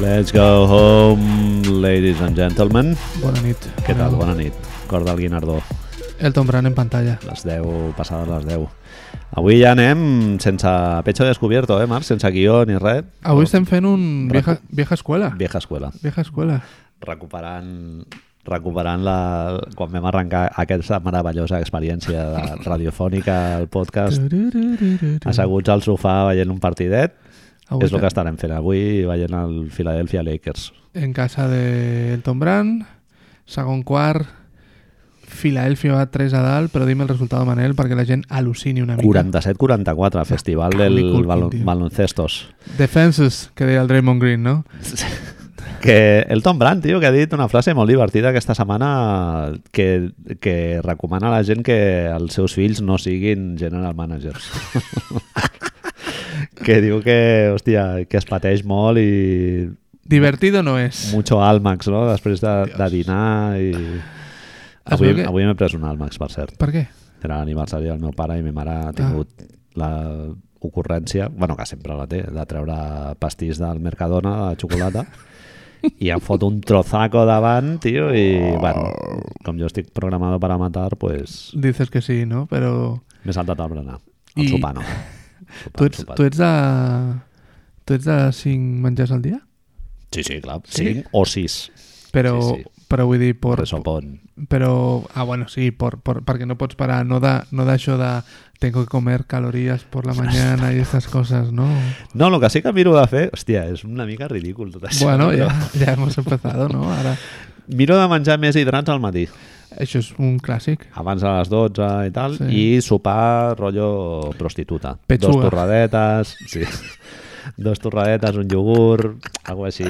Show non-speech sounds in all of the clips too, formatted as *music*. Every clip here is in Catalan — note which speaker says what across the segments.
Speaker 1: Let's go home, ladies and gentlemen.
Speaker 2: Bona nit.
Speaker 1: Què tal? Bona nit. Cor del Guinardó.
Speaker 2: Elton Brand en pantalla.
Speaker 1: Les 10, passades les 10. Avui ja anem sense pecho descubierto, eh, Marc? Sense guió ni res.
Speaker 2: Avui estem fent un vieja, vieja escuela.
Speaker 1: Vieja escuela.
Speaker 2: Vieja escuela.
Speaker 1: Recuperant recuperant la, quan vam arrencar aquesta meravellosa experiència de radiofònica, el podcast, asseguts al sofà veient un partidet,
Speaker 2: Avui
Speaker 1: és el que
Speaker 2: estem
Speaker 1: estarem fent avui veient el Philadelphia Lakers.
Speaker 2: En casa de Elton Brand, segon quart, Filadelfia va 3 a dalt, però dime el resultat, Manel, perquè la gent al·lucini una mica.
Speaker 1: 47-44, Festival del
Speaker 2: Calicul,
Speaker 1: Balon-
Speaker 2: tio.
Speaker 1: Baloncestos.
Speaker 2: Defenses, que deia el Draymond Green, no?
Speaker 1: Que el Tom Brand, tio, que ha dit una frase molt divertida aquesta setmana que, que recomana a la gent que els seus fills no siguin general managers. *laughs* que diu que, hòstia, que es pateix molt i
Speaker 2: Divertido no és.
Speaker 1: mucho Almax, no? Després de, de dinar i...
Speaker 2: Es
Speaker 1: Avui,
Speaker 2: veu que-
Speaker 1: avui m'he pres un Almax, per cert.
Speaker 2: Per què?
Speaker 1: Era l'aniversari del meu pare i ma mare ha tingut
Speaker 2: Ah.
Speaker 1: la ocurrència, bueno, que sempre la té, de treure pastís del Mercadona de xocolata i em fot un trozaco davant, tio, i, bueno, com jo estic programado para matar, pues
Speaker 2: Dices que sí, no? Però
Speaker 1: m'he saltat el berenar. El
Speaker 2: I- *laughs*
Speaker 1: sopar no.
Speaker 2: tu ets, tu ets de... Tu ets de 5 menjars al dia?
Speaker 1: Sí, sí, clar.
Speaker 2: Sí?
Speaker 1: Cinc o sis.
Speaker 2: Però,
Speaker 1: Sí,
Speaker 2: però vull dir, por,
Speaker 1: Per sopón.
Speaker 2: Pero, ah, bueno, sí, por, por, porque no pots parar, no da, no da això de tengo que comer calorías por la mañana y estas cosas, ¿no?
Speaker 1: No, el que sí que miro de fer... Hòstia, és una mica ridícul tot això.
Speaker 2: Bueno,
Speaker 1: però
Speaker 2: ya, ya hemos empezado, ¿no? Ahora,
Speaker 1: Miro de menjar més hidrats al matí.
Speaker 2: eso es un clásico.
Speaker 1: abans de les 12 i tal,
Speaker 2: Sí.
Speaker 1: i sopar rotllo prostituta.
Speaker 2: Pechuga.
Speaker 1: Dos torradetes, *laughs* sí. Dos torradetes, un iogurt, alguna així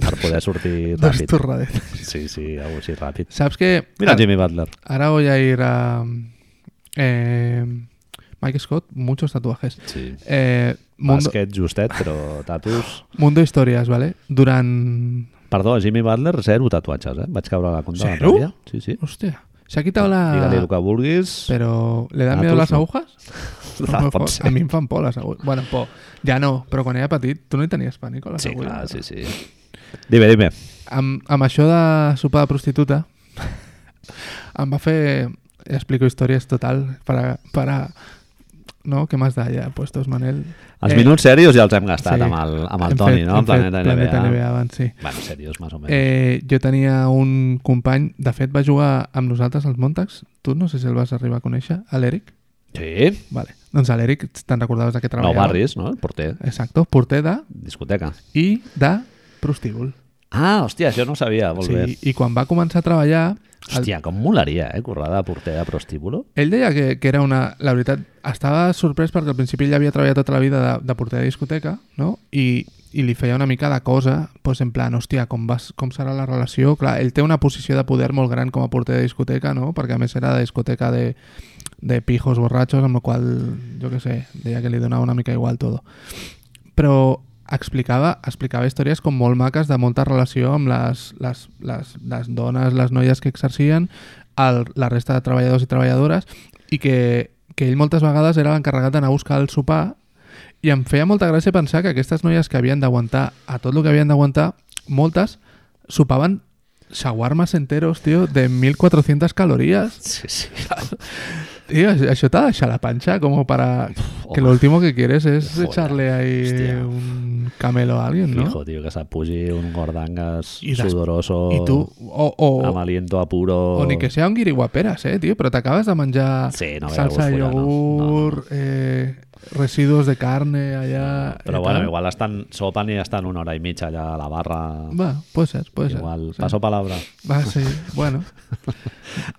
Speaker 1: per poder sortir
Speaker 2: *laughs* Dos Ah.
Speaker 1: ràpid.
Speaker 2: torradetes.
Speaker 1: Sí, sí, alguna així ràpid.
Speaker 2: ¿Sabes qué?
Speaker 1: Mira Jimmy Butler.
Speaker 2: Ahora voy a ir a... eh, Mike Scott, muchos tatuajes.
Speaker 1: Sí.
Speaker 2: Eh, mundo,
Speaker 1: Bàsquet justet, però tatus...
Speaker 2: mundo Historias, ¿vale? Duran...
Speaker 1: Perdó, Jimmy Butler, zero tatuatges, eh? Vaig caure a la compta l'altre
Speaker 2: Zero?
Speaker 1: dia. Sí, sí.
Speaker 2: Hostia, se ha quitado la...
Speaker 1: Digue-li el que vulguis.
Speaker 2: Pero, ¿le dan
Speaker 1: Ah,
Speaker 2: miedo
Speaker 1: tú
Speaker 2: las
Speaker 1: no.
Speaker 2: agujas?
Speaker 1: *laughs*
Speaker 2: No
Speaker 1: Ah,
Speaker 2: me
Speaker 1: pot
Speaker 2: fot-
Speaker 1: ser.
Speaker 2: a mi em fan por les agulles. Bueno, por. Ja no, però quan era petit tu no hi tenies pànic a les
Speaker 1: Sí,
Speaker 2: agulles.
Speaker 1: clar, sí, sí. Dime, dime.
Speaker 2: Amb, amb això de sopar de prostituta *laughs* em va fer... Explico històries total para... para no? Què m'has de ja puestos, Manel?
Speaker 1: Els
Speaker 2: Eh,
Speaker 1: minuts serios ja els hem gastat
Speaker 2: sí.
Speaker 1: amb el, amb el
Speaker 2: Hem
Speaker 1: Toni,
Speaker 2: fet-
Speaker 1: no?
Speaker 2: hem
Speaker 1: Amb Planeta,
Speaker 2: fet Planeta
Speaker 1: NBA.
Speaker 2: NBA abans, sí.
Speaker 1: Bueno, serios, més o menys.
Speaker 2: Eh, jo tenia un company, de fet va jugar amb nosaltres als Montags, tu no sé si el vas arribar a conèixer, a l'Eric.
Speaker 1: Sí,
Speaker 2: Vale. Doncs a l'Eric te'n recordaves de què
Speaker 1: no,
Speaker 2: treballava?
Speaker 1: Barris, no? El porter.
Speaker 2: Exacto, porter de
Speaker 1: Discoteca.
Speaker 2: i de prostíbul.
Speaker 1: Ah, hòstia, això no ho sabia, molt sí. bé.
Speaker 2: Sí, I quan va començar a treballar, el,
Speaker 1: Hòstia, com molaria, eh, currar de porter de prostíbulo.
Speaker 2: ell deia que, que era una... La veritat, estava sorprès perquè al principi ell havia treballat tota la vida de, de porter de discoteca, no? I, i li feia una mica de cosa, doncs en plan, hòstia, com, vas, com serà la relació? Clar, ell té una posició de poder molt gran com a porter de discoteca, no? Perquè a més era de discoteca de, de pijos borratxos, amb la qual cosa, jo què sé, deia que li donava una mica igual tot. però explicava, explicava històries com molt maques de molta relació amb les, les, les, les dones, les noies que exercien, el, la resta de treballadors i treballadores, i que, que ell moltes vegades era l'encarregat d'anar a buscar el sopar i em feia molta gràcia pensar que aquestes noies que havien d'aguantar a tot el que havien d'aguantar, moltes sopaven shawarmas enteros, tio, de 1.400 calories.
Speaker 1: Sí, *laughs* sí.
Speaker 2: Tio, això- això t'ha de deixar la panxa, com para... Que
Speaker 1: home.
Speaker 2: lo último que quieres es
Speaker 1: Joder,
Speaker 2: echarle ahí
Speaker 1: hostia.
Speaker 2: un camelo a alguien,
Speaker 1: No?
Speaker 2: ¿no?
Speaker 1: Fijo, tio, que se pugi un gordangas
Speaker 2: I des-
Speaker 1: sudoroso,
Speaker 2: I tu, o,
Speaker 1: amb
Speaker 2: o,
Speaker 1: aliento a puro...
Speaker 2: o ni que sea un guiriguaperas, eh, tío, pero te acabas de manjar
Speaker 1: Sí, no,
Speaker 2: salsa de
Speaker 1: veus fuera, no.
Speaker 2: yogur, eh, residuos de carne allá...
Speaker 1: Però
Speaker 2: i
Speaker 1: bueno,
Speaker 2: tal.
Speaker 1: igual estan, sopen i estan una hora i mitja allà a la barra.
Speaker 2: Va, puede ser, puede
Speaker 1: igual,
Speaker 2: ser. sí.
Speaker 1: passo palabra.
Speaker 2: Va, sí,
Speaker 1: *laughs*
Speaker 2: bueno.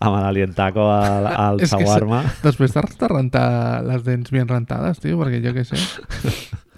Speaker 1: Amb l'alientaco
Speaker 2: *laughs*
Speaker 1: al, al
Speaker 2: És que se-
Speaker 1: shawarma.
Speaker 2: *laughs* Després t'has de rentar les dents bien rentades, tío, porque yo qué
Speaker 1: *laughs*
Speaker 2: sé.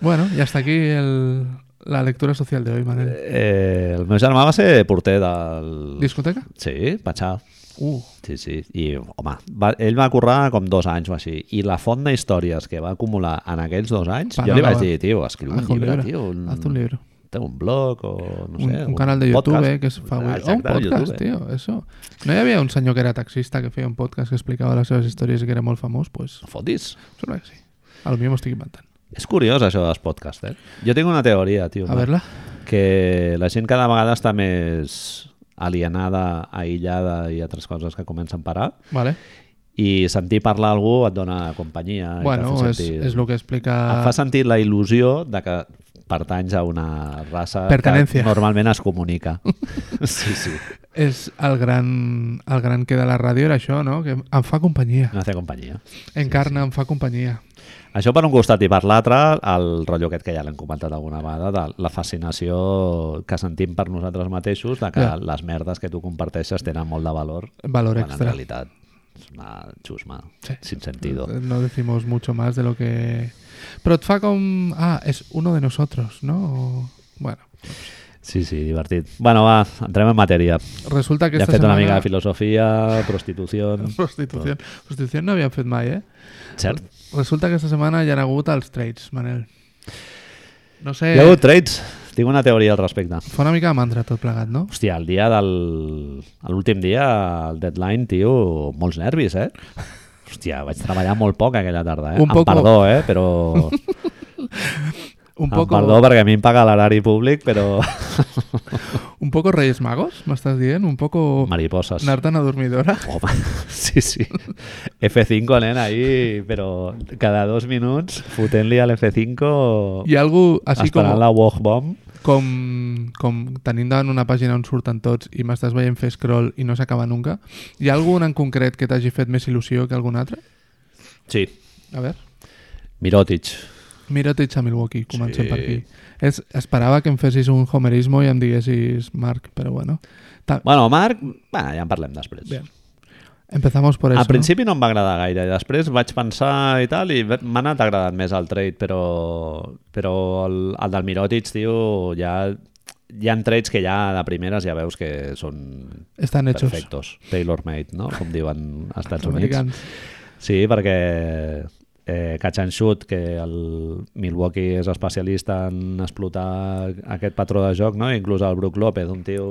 Speaker 2: Bueno, y hasta aquí el, la lectura social de hoy, Manel.
Speaker 1: Eh, el meu germà va ser porter del...
Speaker 2: ¿Discoteca?
Speaker 1: Sí, Patxà.
Speaker 2: Uh,
Speaker 1: Sí, sí. I, home, va, ell va currar com dos anys o així. I la font de històries que va acumular en aquells dos anys,
Speaker 2: Pa,
Speaker 1: jo
Speaker 2: no,
Speaker 1: li
Speaker 2: no,
Speaker 1: vaig
Speaker 2: va.
Speaker 1: dir, tio, escriu un
Speaker 2: haz un
Speaker 1: llibre,
Speaker 2: libro.
Speaker 1: tio. Un,
Speaker 2: Haz Ah, un libro.
Speaker 1: Té un blog o, no
Speaker 2: un,
Speaker 1: sé,
Speaker 2: un canal de YouTube
Speaker 1: podcast.
Speaker 2: eh, que es fa avui.
Speaker 1: Exacte,
Speaker 2: Oh,
Speaker 1: de
Speaker 2: un
Speaker 1: YouTube. eh.
Speaker 2: podcast, tio, eso. No hi havia un senyor que era taxista que feia un podcast que explicava les seves històries i que era molt famós? Pues,
Speaker 1: No fotis.
Speaker 2: em sembla que sí.
Speaker 1: Pues
Speaker 2: A lo millor m'ho estic inventant.
Speaker 1: És curiós, això dels podcasts, eh? Jo tinc una teoria, tio.
Speaker 2: A
Speaker 1: Marc,
Speaker 2: veure-la.
Speaker 1: que la gent cada vegada està més alienada, aïllada i altres coses que comencen a parar
Speaker 2: Vale.
Speaker 1: i sentir parlar a algú et dona companyia. i
Speaker 2: bueno,
Speaker 1: et fa
Speaker 2: és,
Speaker 1: sentir...
Speaker 2: és el que explica...
Speaker 1: Em fa sentir la il·lusió de que pertanys a una raça
Speaker 2: Pertenencia.
Speaker 1: que normalment es
Speaker 2: *laughs*
Speaker 1: comunica. sí, sí,
Speaker 2: És el gran, el gran que de la ràdio era això, no? Que em fa companyia.
Speaker 1: no fer companyia.
Speaker 2: Encarna, em fa companyia.
Speaker 1: Això per un costat i per l'altre, el rotllo aquest que ja l'hem comentat alguna vegada, de la fascinació que sentim per nosaltres mateixos, de que
Speaker 2: Ja.
Speaker 1: les merdes que tu comparteixes tenen molt de valor,
Speaker 2: Valor
Speaker 1: quan en
Speaker 2: extra.
Speaker 1: realitat és una xusma,
Speaker 2: Sí. Eh.
Speaker 1: sin sentido.
Speaker 2: No decimos mucho más de lo que... Però et fa com... Ah, és uno de nosotros, no? O... Bueno,
Speaker 1: Sí, sí, divertit. Bueno, va, entrem en matèria.
Speaker 2: resulta que
Speaker 1: Ja hem
Speaker 2: esta
Speaker 1: fet
Speaker 2: setmana... Eh.
Speaker 1: una mica de filosofia, prostitució...
Speaker 2: Prostitució. Prostitució no havíem fet mai, eh?
Speaker 1: Cert.
Speaker 2: Resulta que esta setmana hi ha hagut els trades, Manel. No sé...
Speaker 1: Hi ha hagut trades. Tinc una teoria al respecte.
Speaker 2: Fa una mica de mantra tot plegat, no?
Speaker 1: Hòstia, el dia del... L'últim dia, el deadline, tio, molts nervis, eh? Hòstia, vaig treballar molt poc aquella tarda, eh?
Speaker 2: Un poco.
Speaker 1: Amb perdó, eh?
Speaker 2: *laughs*
Speaker 1: Però...
Speaker 2: Un
Speaker 1: Amb
Speaker 2: poco,
Speaker 1: perdó perquè a mi em paga l'horari públic,
Speaker 2: *laughs*
Speaker 1: però...
Speaker 2: un poco Reyes Magos, m'estàs dient? Un poco
Speaker 1: Mariposas.
Speaker 2: anar-te'n a dormidora?
Speaker 1: Home, *laughs* sí, sí. F5, nena, ahí, però cada dos minuts fotent-li a l'F5
Speaker 2: Hi ha algú així com,
Speaker 1: esperant la Wog Bomb.
Speaker 2: com, com tenint davant una pàgina on surten tots i m'estàs veient fer scroll i no s'acaba nunca? Hi ha algun en concret que t'hagi fet més il·lusió que algun altre?
Speaker 1: Sí,
Speaker 2: A veure...
Speaker 1: Mirotic.
Speaker 2: Mirotic a Milwaukee, comencem
Speaker 1: Sí.
Speaker 2: per aquí. És, esperava que em fessis un homerismo i em diguessis Marc, però bueno. Ta
Speaker 1: Bueno, Marc, bueno, ja en parlem després.
Speaker 2: Bien. Empezamos por eso.
Speaker 1: Al principi no em va agradar gaire, i després vaig pensar i tal, i m'ha anat agradant més el trade, però, però el, el del Mirotic, tio, ja, hi ha trades que ja de primeres ja veus que són
Speaker 2: No? Estan hechos.
Speaker 1: perfectos, tailor-made, no? com diuen als Estats Units.
Speaker 2: Americans.
Speaker 1: Sí, perquè eh, catch and shoot, que el Milwaukee és especialista en explotar aquest patró de joc, no? inclús el Brook López, un tio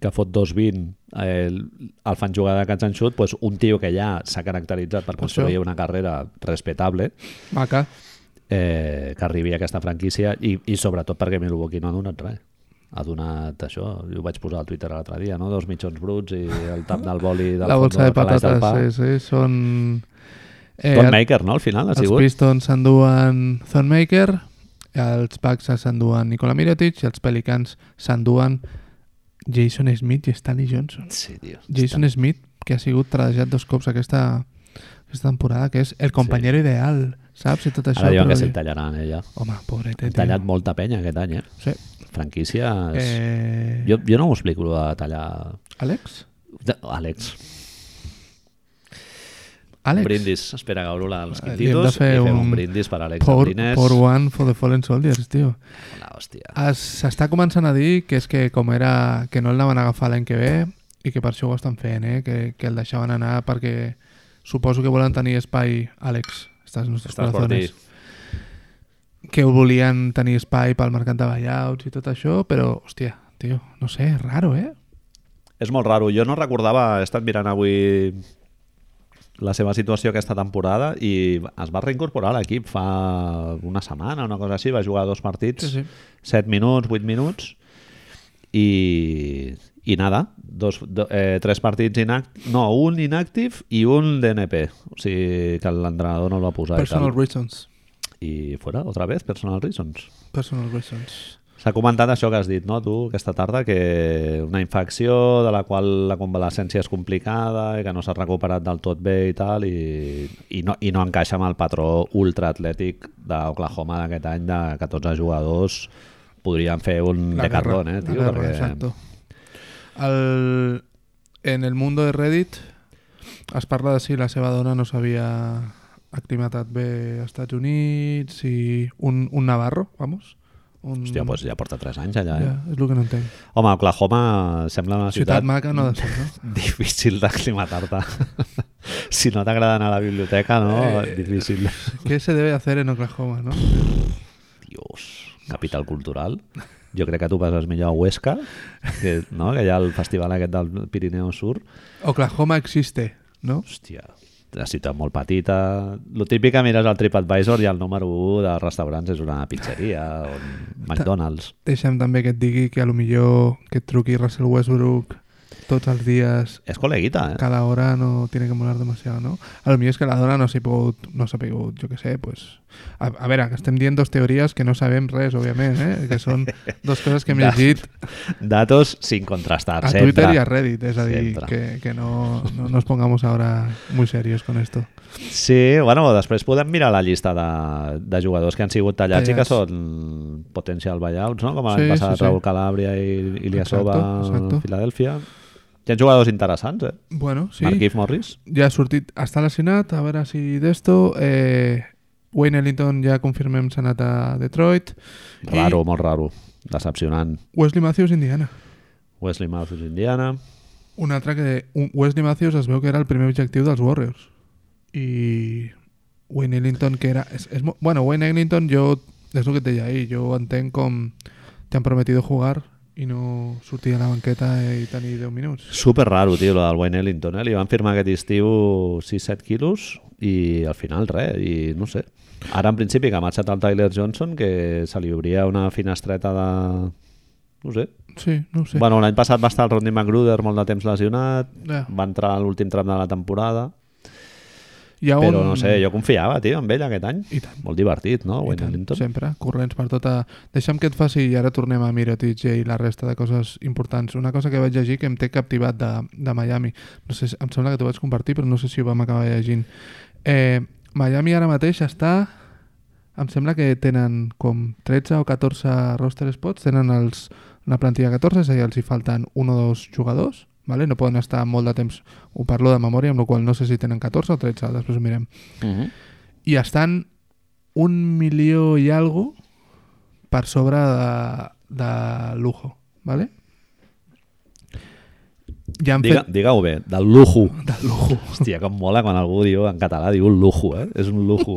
Speaker 1: que fot 2-20, eh, el fan jugar de catch and shoot, doncs un tio que ja s'ha caracteritzat per construir
Speaker 2: això.
Speaker 1: una carrera respetable,
Speaker 2: Maca.
Speaker 1: eh, que arribi a aquesta franquícia i, i sobretot perquè Milwaukee no ha donat res ha donat això, jo ho vaig posar al Twitter l'altre dia, no? dos mitjons bruts i el tap del boli del
Speaker 2: La bolsa de
Speaker 1: fondo del calaix del
Speaker 2: patates,
Speaker 1: pa.
Speaker 2: sí, sí, són... Eh,
Speaker 1: Don Maker, no? Al final ha
Speaker 2: els
Speaker 1: sigut.
Speaker 2: Pistons s'enduen Thonmaker, els Bucks s'enduen Nikola Mirotic i els Pelicans s'enduen Jason Smith i Stanley Johnson.
Speaker 1: Sí, tio.
Speaker 2: Jason Smith, que ha sigut tradejat dos cops aquesta, aquesta temporada, que és el companyero sí. ideal, saps? I tot això.
Speaker 1: Ara diuen que
Speaker 2: però-
Speaker 1: se'l tallaran, eh, ja.
Speaker 2: Home, pobret, eh,
Speaker 1: Hem
Speaker 2: tio.
Speaker 1: tallat molta penya aquest any, eh?
Speaker 2: Sí.
Speaker 1: Franquícies... Eh...
Speaker 2: Eh,
Speaker 1: Jo, jo no m'ho explico, lo de tallar...
Speaker 2: Àlex?
Speaker 1: De... Àlex.
Speaker 2: Àlex?
Speaker 1: Un brindis. Espera, que obro la- els
Speaker 2: Eh, li hem de
Speaker 1: quintitos i
Speaker 2: fer
Speaker 1: fem un...
Speaker 2: un
Speaker 1: brindis per Àlex
Speaker 2: Pour,
Speaker 1: Martínez.
Speaker 2: pour one for the fallen soldiers, tio.
Speaker 1: Una hòstia.
Speaker 2: Es- S'està començant a dir que és que com era que no el anaven a agafar l'any que ve i que per això ho estan fent, eh? que, que el deixaven anar perquè suposo que volen tenir espai, Àlex, estàs en nostres
Speaker 1: Estàs per dir.
Speaker 2: corazones. que ho volien tenir espai pel mercat de buyouts i tot això, però, hòstia, tio, no sé, és raro, eh?
Speaker 1: És molt raro. Jo no recordava... He estat mirant avui la seva situació aquesta temporada i es va reincorporar a l'equip fa una setmana, una cosa així. Va jugar dos partits. 7 minuts, 8 minuts i, i nada dos, do, eh, tres partits inactius no, un inactive i un DNP o sigui que l'entrenador no el va posar
Speaker 2: Personal
Speaker 1: i, tal.
Speaker 2: reasons.
Speaker 1: i fora, otra vez, personal reasons
Speaker 2: Personal reasons.
Speaker 1: S'ha comentat això que has dit, no, tu, aquesta tarda, que una infecció de la qual la convalescència és complicada i que no s'ha recuperat del tot bé i tal, i, i, no, i no encaixa amb el patró ultraatlètic d'Oklahoma d'aquest any de 14 jugadors podrien fer un
Speaker 2: La guerra,
Speaker 1: decathlon, eh,
Speaker 2: la
Speaker 1: tio?
Speaker 2: guerra,
Speaker 1: perquè...
Speaker 2: Exacto. El, en el mundo de Reddit es parla de si la seva dona no s'havia aclimatat bé als Estats Units i un, un navarro, vamos. Un,
Speaker 1: Hòstia, doncs ja porta 3 anys allà, eh?
Speaker 2: ja, és el que no entenc.
Speaker 1: Yeah. Home, Oklahoma sembla una
Speaker 2: Ciutat
Speaker 1: ciutat,
Speaker 2: maca no ha de ser, no?
Speaker 1: *laughs* difícil d'aclimatar-te. *laughs* si no t'agrada anar a la biblioteca, no?
Speaker 2: Eh,
Speaker 1: Difícil.
Speaker 2: ¿Qué se debe hacer en Oklahoma, no?
Speaker 1: Dios, capital cultural. Jo crec que tu passes millor a Huesca, que, no? que hi ha el festival aquest del Pirineu Sur.
Speaker 2: Oklahoma existe, no?
Speaker 1: Hòstia, la ciutat molt petita. Lo típic que mires al TripAdvisor i el número 1 de restaurants és una pizzeria o un McDonald's.
Speaker 2: Deixa'm també que et digui que a lo millor que et truqui Russell Westbrook tots els dies,
Speaker 1: És col·leguita, eh?
Speaker 2: cada hora no tiene que molar demasiado, no? A lo millor és que la dona no s'hi pogut, no s'ha pogut, jo que sé, pues... A, a veure, que estem dient dos teories que no sabem res, òbviament, eh? Que són dos coses que hem
Speaker 1: Ja.
Speaker 2: llegit
Speaker 1: Datos sin contrastar,
Speaker 2: a
Speaker 1: sempre.
Speaker 2: Twitter y a Reddit, es decir,
Speaker 1: Siempre.
Speaker 2: que, que no, no nos pongamos ahora muy serios con esto.
Speaker 1: Sí, bueno, després podem mirar la llista de, de jugadors que han sigut tallats, i que
Speaker 2: Tallats.
Speaker 1: són potencial buyouts, no? com
Speaker 2: Sí,
Speaker 1: l'any sí, passat
Speaker 2: sí,
Speaker 1: sí,
Speaker 2: sí.
Speaker 1: Raúl Calabria i Iliasova
Speaker 2: Exacto, exacto.
Speaker 1: a Filadèlfia. Hi ha jugadors interessants, eh?
Speaker 2: Bueno, sí,
Speaker 1: Marquif Morris.
Speaker 2: ya ha sortit, hasta la Sinat, a veure si d'esto... Eh, Wayne Ellington ja confirmem s'ha anat a Detroit.
Speaker 1: Raro, I... molt raro. Decepcionant.
Speaker 2: Wesley Matthews, Indiana.
Speaker 1: Wesley Matthews, Indiana.
Speaker 2: Un altre que... un- Wesley Matthews es veu que era el primer objectiu dels Warriors. I Wayne Ellington, que era... És, és, mo- bueno, Wayne Ellington jo... És el que et deia ahir. Jo ho entenc com t'han prometido jugar i no sortir a la banqueta i tenir 10 minuts.
Speaker 1: Super raro, tio, lo del Wayne Ellington. Eh? Li van firmar aquest estiu 6-7 quilos i al final res, i no sé. Ara, en principi, que ha marxat el Tyler Johnson, que se li obria una finestreta de... No ho sé.
Speaker 2: Sí, no ho sé.
Speaker 1: Sí. Bueno, l'any passat va estar el Rodney McGruder molt de temps lesionat,
Speaker 2: Ja.
Speaker 1: va entrar a l'últim tram de la temporada,
Speaker 2: Hi ha
Speaker 1: però
Speaker 2: un-
Speaker 1: no sé, jo confiava, tio, en ell aquest any.
Speaker 2: I tant.
Speaker 1: Molt divertit, no,
Speaker 2: I
Speaker 1: Wayne
Speaker 2: tant,
Speaker 1: Ellington?
Speaker 2: sempre, corrents per tota... Deixa'm que et faci, i ara tornem a Mirotic i la resta de coses importants. Una cosa que vaig llegir que em té captivat de, de Miami. No sé, si- em sembla que t'ho vaig compartir, però no sé si ho vam acabar llegint. Eh, Miami ara mateix està... Em sembla que tenen com 13 o 14 roster spots, tenen els, la plantilla 14, és a dir, els hi falten un o dos jugadors, vale? no poden estar molt de temps, ho parlo de memòria, amb la qual cosa no sé si tenen 14 o 13, després ho mirem
Speaker 1: Uh -huh.
Speaker 2: i estan un milió i algo per sobre de, de lujo, ¿vale? Ja han
Speaker 1: Digue,
Speaker 2: fet...
Speaker 1: digue-ho bé, del lujo.
Speaker 2: De lujo.
Speaker 1: *laughs* Hòstia, com mola quan algú diu en català, diu un lujo, eh? És un lujo.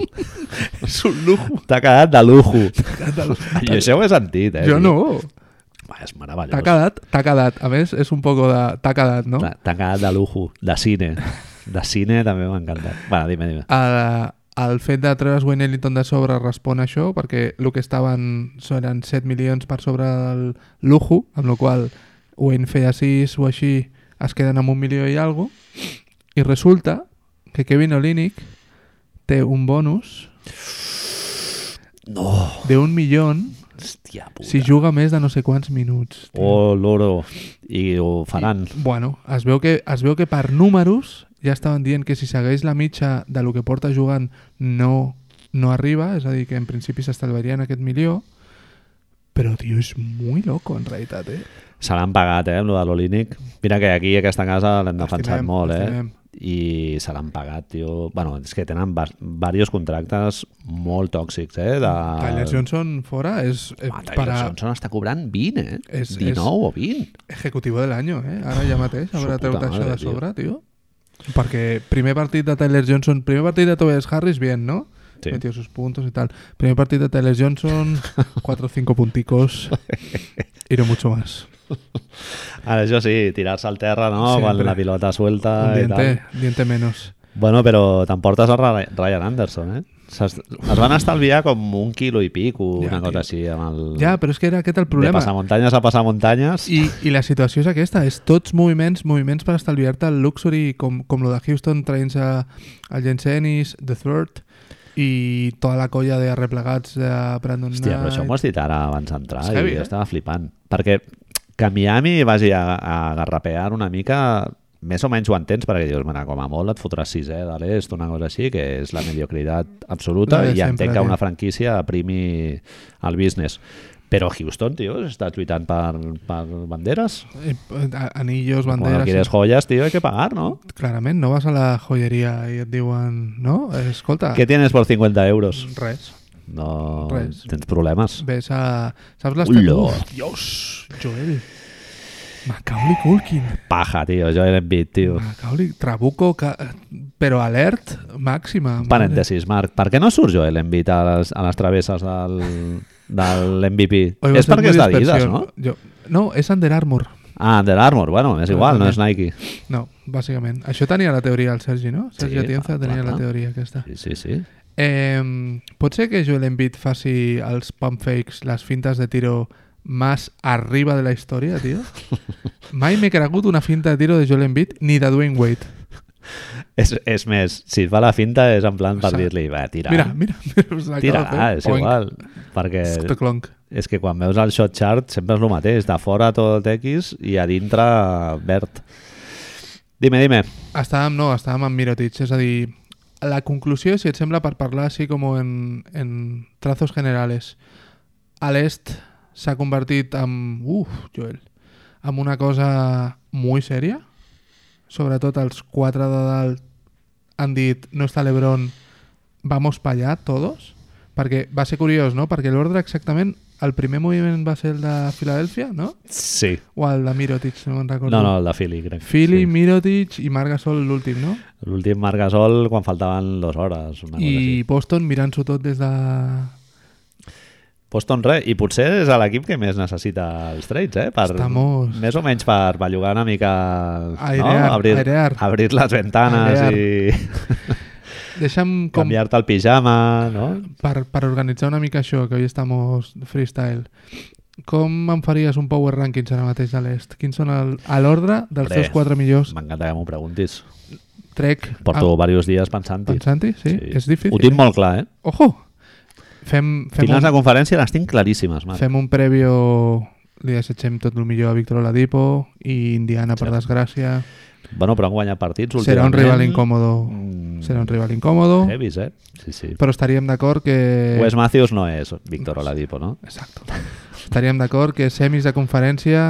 Speaker 1: és un lujo. T'ha quedat de lujo. Jo això ho he sentit, eh?
Speaker 2: jo
Speaker 1: tio.
Speaker 2: no.
Speaker 1: Va, és
Speaker 2: T'ha
Speaker 1: meravellós.
Speaker 2: quedat, t'ha quedat. A més, és un poco de... T'ha quedat, no?
Speaker 1: T'ha t'ha quedat de lujo, de cine. De cine també m'ha encantat. Va, dime, dime.
Speaker 2: El, el fet de treure's Wayne Ellington de sobre respon a això, perquè el que estaven so- eren 7 milions per sobre del lujo, amb la qual cosa Wayne feia 6 o així, es queden amb un milió i algo, i resulta que Kevin Olinick té un bonus
Speaker 1: No,
Speaker 2: de un milió
Speaker 1: hòstia Oh, puta.
Speaker 2: si juga més de no sé quants minuts. tio.
Speaker 1: Oh, l'oro. I ho faran.
Speaker 2: Bueno, es veu, que, es veu que per números ja estaven dient que si segueix la mitja de lo que porta jugant no, no arriba, és a dir, que en principi s'estalvarien aquest milió, però, tio, és molt loco, en realitat, eh?
Speaker 1: Se l'han pagat, eh, amb lo de l'Olínic. Mira que aquí, aquesta casa, l'hem defensat
Speaker 2: L'estimem,
Speaker 1: molt, eh?
Speaker 2: l'estimem.
Speaker 1: I se l'han pagat, tio. Bueno, és que tenen va- varios contractes molt tòxics, eh? De...
Speaker 2: Tyler Johnson fora és eh,
Speaker 1: Home, Tyler
Speaker 2: per a
Speaker 1: Johnson està cobrant 20, eh?
Speaker 2: És-
Speaker 1: 19
Speaker 2: és-
Speaker 1: o 20.
Speaker 2: ejecutivo del any, eh? Ara ja mateix,
Speaker 1: Su
Speaker 2: haurà
Speaker 1: puta
Speaker 2: treut això
Speaker 1: madre,
Speaker 2: de sobre, tio. Perquè primer partit de Tyler Johnson, primer partit de Tobias Harris, bien, ¿no?
Speaker 1: Sí.
Speaker 2: Metió sus puntos y tal. Primer partido de Tyler
Speaker 1: *laughs*
Speaker 2: Johnson, 4 o 5 punticos y no mucho más.
Speaker 1: Ara, això sí, tirar-se al terra, no?
Speaker 2: Sempre.
Speaker 1: Sempre. Quan la pilota suelta
Speaker 2: Un
Speaker 1: i tal.
Speaker 2: diente, diente menos.
Speaker 1: Bueno, però t'emportes a Ra- Ryan Anderson, eh? S'es- Es van estalviar com un quilo i pic, una
Speaker 2: Ja,
Speaker 1: ja, cosa
Speaker 2: tio.
Speaker 1: així, amb el...
Speaker 2: Ja, però és que era aquest el
Speaker 1: de
Speaker 2: problema.
Speaker 1: passar muntanyes a passar muntanyes.
Speaker 2: I, I la situació és aquesta, és tots moviments, moviments per estalviar-te el luxury, com, com lo de Houston traient-se el Jensenis, The Third, i tota la colla de replegats de Brandon
Speaker 1: Hòstia, però
Speaker 2: Knight.
Speaker 1: això m'ho has dit ara abans d'entrar
Speaker 2: És
Speaker 1: i
Speaker 2: heavy,
Speaker 1: jo
Speaker 2: eh?
Speaker 1: estava flipant. Perquè que Miami vagi a, a garrapear una mica més o menys ho entens perquè dius, mira, com a molt et fotràs sisè de l'est, una cosa així, que és la mediocritat absoluta
Speaker 2: La de
Speaker 1: i
Speaker 2: sempre,
Speaker 1: entenc
Speaker 2: tio.
Speaker 1: que una franquícia aprimi el business. Però Houston, tio, estàs lluitant per, per banderes?
Speaker 2: Eh, eh, Anillos,
Speaker 1: Quan
Speaker 2: banderes...
Speaker 1: quieres joyas, tio, hay que pagar, ¿no?
Speaker 2: Clarament, no vas a la joieria i et diuen... No? Escolta,
Speaker 1: ¿Qué tienes por 50 euros?
Speaker 2: res.
Speaker 1: No
Speaker 2: Res.
Speaker 1: tens problemes.
Speaker 2: Ves a... Saps les
Speaker 1: Ullo.
Speaker 2: Uf, Dios, Joel. Macaulay Culkin.
Speaker 1: Paja, tio, jo era envit,
Speaker 2: *laughs*
Speaker 1: tio.
Speaker 2: Macaulay, Trabuco, ca... però alert màxima.
Speaker 1: Parèntesis, Marc, per què no surt Joel Embiid a les, a les travesses del, del MVP?
Speaker 2: Hoy va a
Speaker 1: és
Speaker 2: ser
Speaker 1: perquè
Speaker 2: muy
Speaker 1: és d'Adidas,
Speaker 2: dispersión.
Speaker 1: no?
Speaker 2: Yo- no, es Under Armour.
Speaker 1: Ah, Under Armour, bueno, és
Speaker 2: Però
Speaker 1: igual, no
Speaker 2: també.
Speaker 1: és Nike.
Speaker 2: No, bàsicament. Això tenia la teoria el Sergi, no? Sergi
Speaker 1: Sí,
Speaker 2: Atienza
Speaker 1: clar,
Speaker 2: tenia
Speaker 1: clar,
Speaker 2: la
Speaker 1: clar.
Speaker 2: teoria aquesta.
Speaker 1: Sí, sí, sí.
Speaker 2: Eh, pot ser que Joel Embiid faci els pump fakes, les fintes de tiro més arriba de la història,
Speaker 1: *laughs*
Speaker 2: tio? Mai m'he cregut una finta de tiro de Joel Embiid ni de Dwayne Wade.
Speaker 1: És, és més, si et fa la finta és en plan per
Speaker 2: Sa-
Speaker 1: dir-li, va, tira,
Speaker 2: Mira, mira, mira, us
Speaker 1: tira,
Speaker 2: l'acaba de
Speaker 1: ah,
Speaker 2: fer.
Speaker 1: és igual. Perquè
Speaker 2: Oink, clonc.
Speaker 1: és que quan veus el shot chart sempre és el mateix, de fora tot X i a dintre verd. Dime, dime.
Speaker 2: Estàvem, no, estàvem amb Mirotic, és a dir, la conclusió, si et sembla, per parlar així com en, en trazos generales, a l'est s'ha convertit en... Uf, Joel, en una cosa molt sèria, sobretot els quatre de dalt han dit no està l'Ebron, vamos pa allá todos, perquè va ser curiós, no? Perquè l'ordre exactament, el primer moviment va ser el de Filadèlfia, no?
Speaker 1: Sí.
Speaker 2: O el de Mirotic, no me'n recordo.
Speaker 1: No, no, el de Philly, crec.
Speaker 2: Fili,
Speaker 1: Sí.
Speaker 2: Mirotic i Marc Gasol l'últim, no?
Speaker 1: L'últim Marc Gasol quan faltaven dues hores. Una cosa així.
Speaker 2: I Boston mirant-s'ho tot des de...
Speaker 1: Boston re, i potser és l'equip que més necessita els trades, eh? Per,
Speaker 2: Estamos.
Speaker 1: Més o menys per bellugar una mica...
Speaker 2: Airear,
Speaker 1: no? Abrir,
Speaker 2: airear.
Speaker 1: abrir les ventanes
Speaker 2: Airear.
Speaker 1: i
Speaker 2: Deixa'm com
Speaker 1: canviar-te el pijama, no?
Speaker 2: per, per organitzar una mica això, que avui estamos freestyle. Com em faries un power rankings ara mateix a l'est? Quins són el, a l'ordre dels
Speaker 1: Hombre.
Speaker 2: teus quatre millors?
Speaker 1: M'encanta que m'ho preguntis.
Speaker 2: Trec
Speaker 1: Porto diversos dies pensant-hi.
Speaker 2: pensant sí? sí? Ah. És difícil.
Speaker 1: Ho tinc molt clar, eh?
Speaker 2: Ojo! Fem, fem,
Speaker 1: Finals
Speaker 2: un,
Speaker 1: de conferència les tinc claríssimes, Marc.
Speaker 2: fem un prèvio... Li desitgem tot el millor a Víctor Oladipo i Indiana, per
Speaker 1: Cert.
Speaker 2: desgràcia.
Speaker 1: Bueno, però han guanyat partits últimament.
Speaker 2: Serà un rival incòmodo.
Speaker 1: Mm,
Speaker 2: Serà un rival incòmodo.
Speaker 1: Heavis, eh? Sí, sí.
Speaker 2: Però estaríem d'acord que...
Speaker 1: Wes Matthews no és Víctor Oladipo, no?
Speaker 2: Exacto. Estaríem d'acord que semis de conferència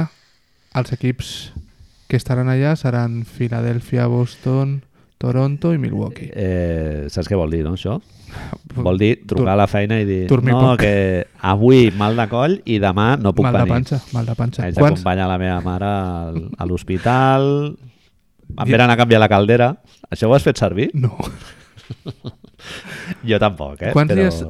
Speaker 2: els equips que estaran allà seran Filadèlfia, Boston, Toronto i Milwaukee.
Speaker 1: Eh, saps què vol dir, no, això? Vol dir trucar a la feina i dir
Speaker 2: dormir
Speaker 1: no,
Speaker 2: poc."
Speaker 1: que avui mal de coll i demà no puc
Speaker 2: mal de
Speaker 1: venir.
Speaker 2: panxa, mal de panxa.
Speaker 1: Haig
Speaker 2: Quants,
Speaker 1: d'acompanyar la meva mare al- a l'hospital, em venen a canviar la caldera. Això ho has fet servir?
Speaker 2: no.
Speaker 1: Jo tampoc, eh?
Speaker 2: *laughs* Quants
Speaker 1: Però
Speaker 2: dies...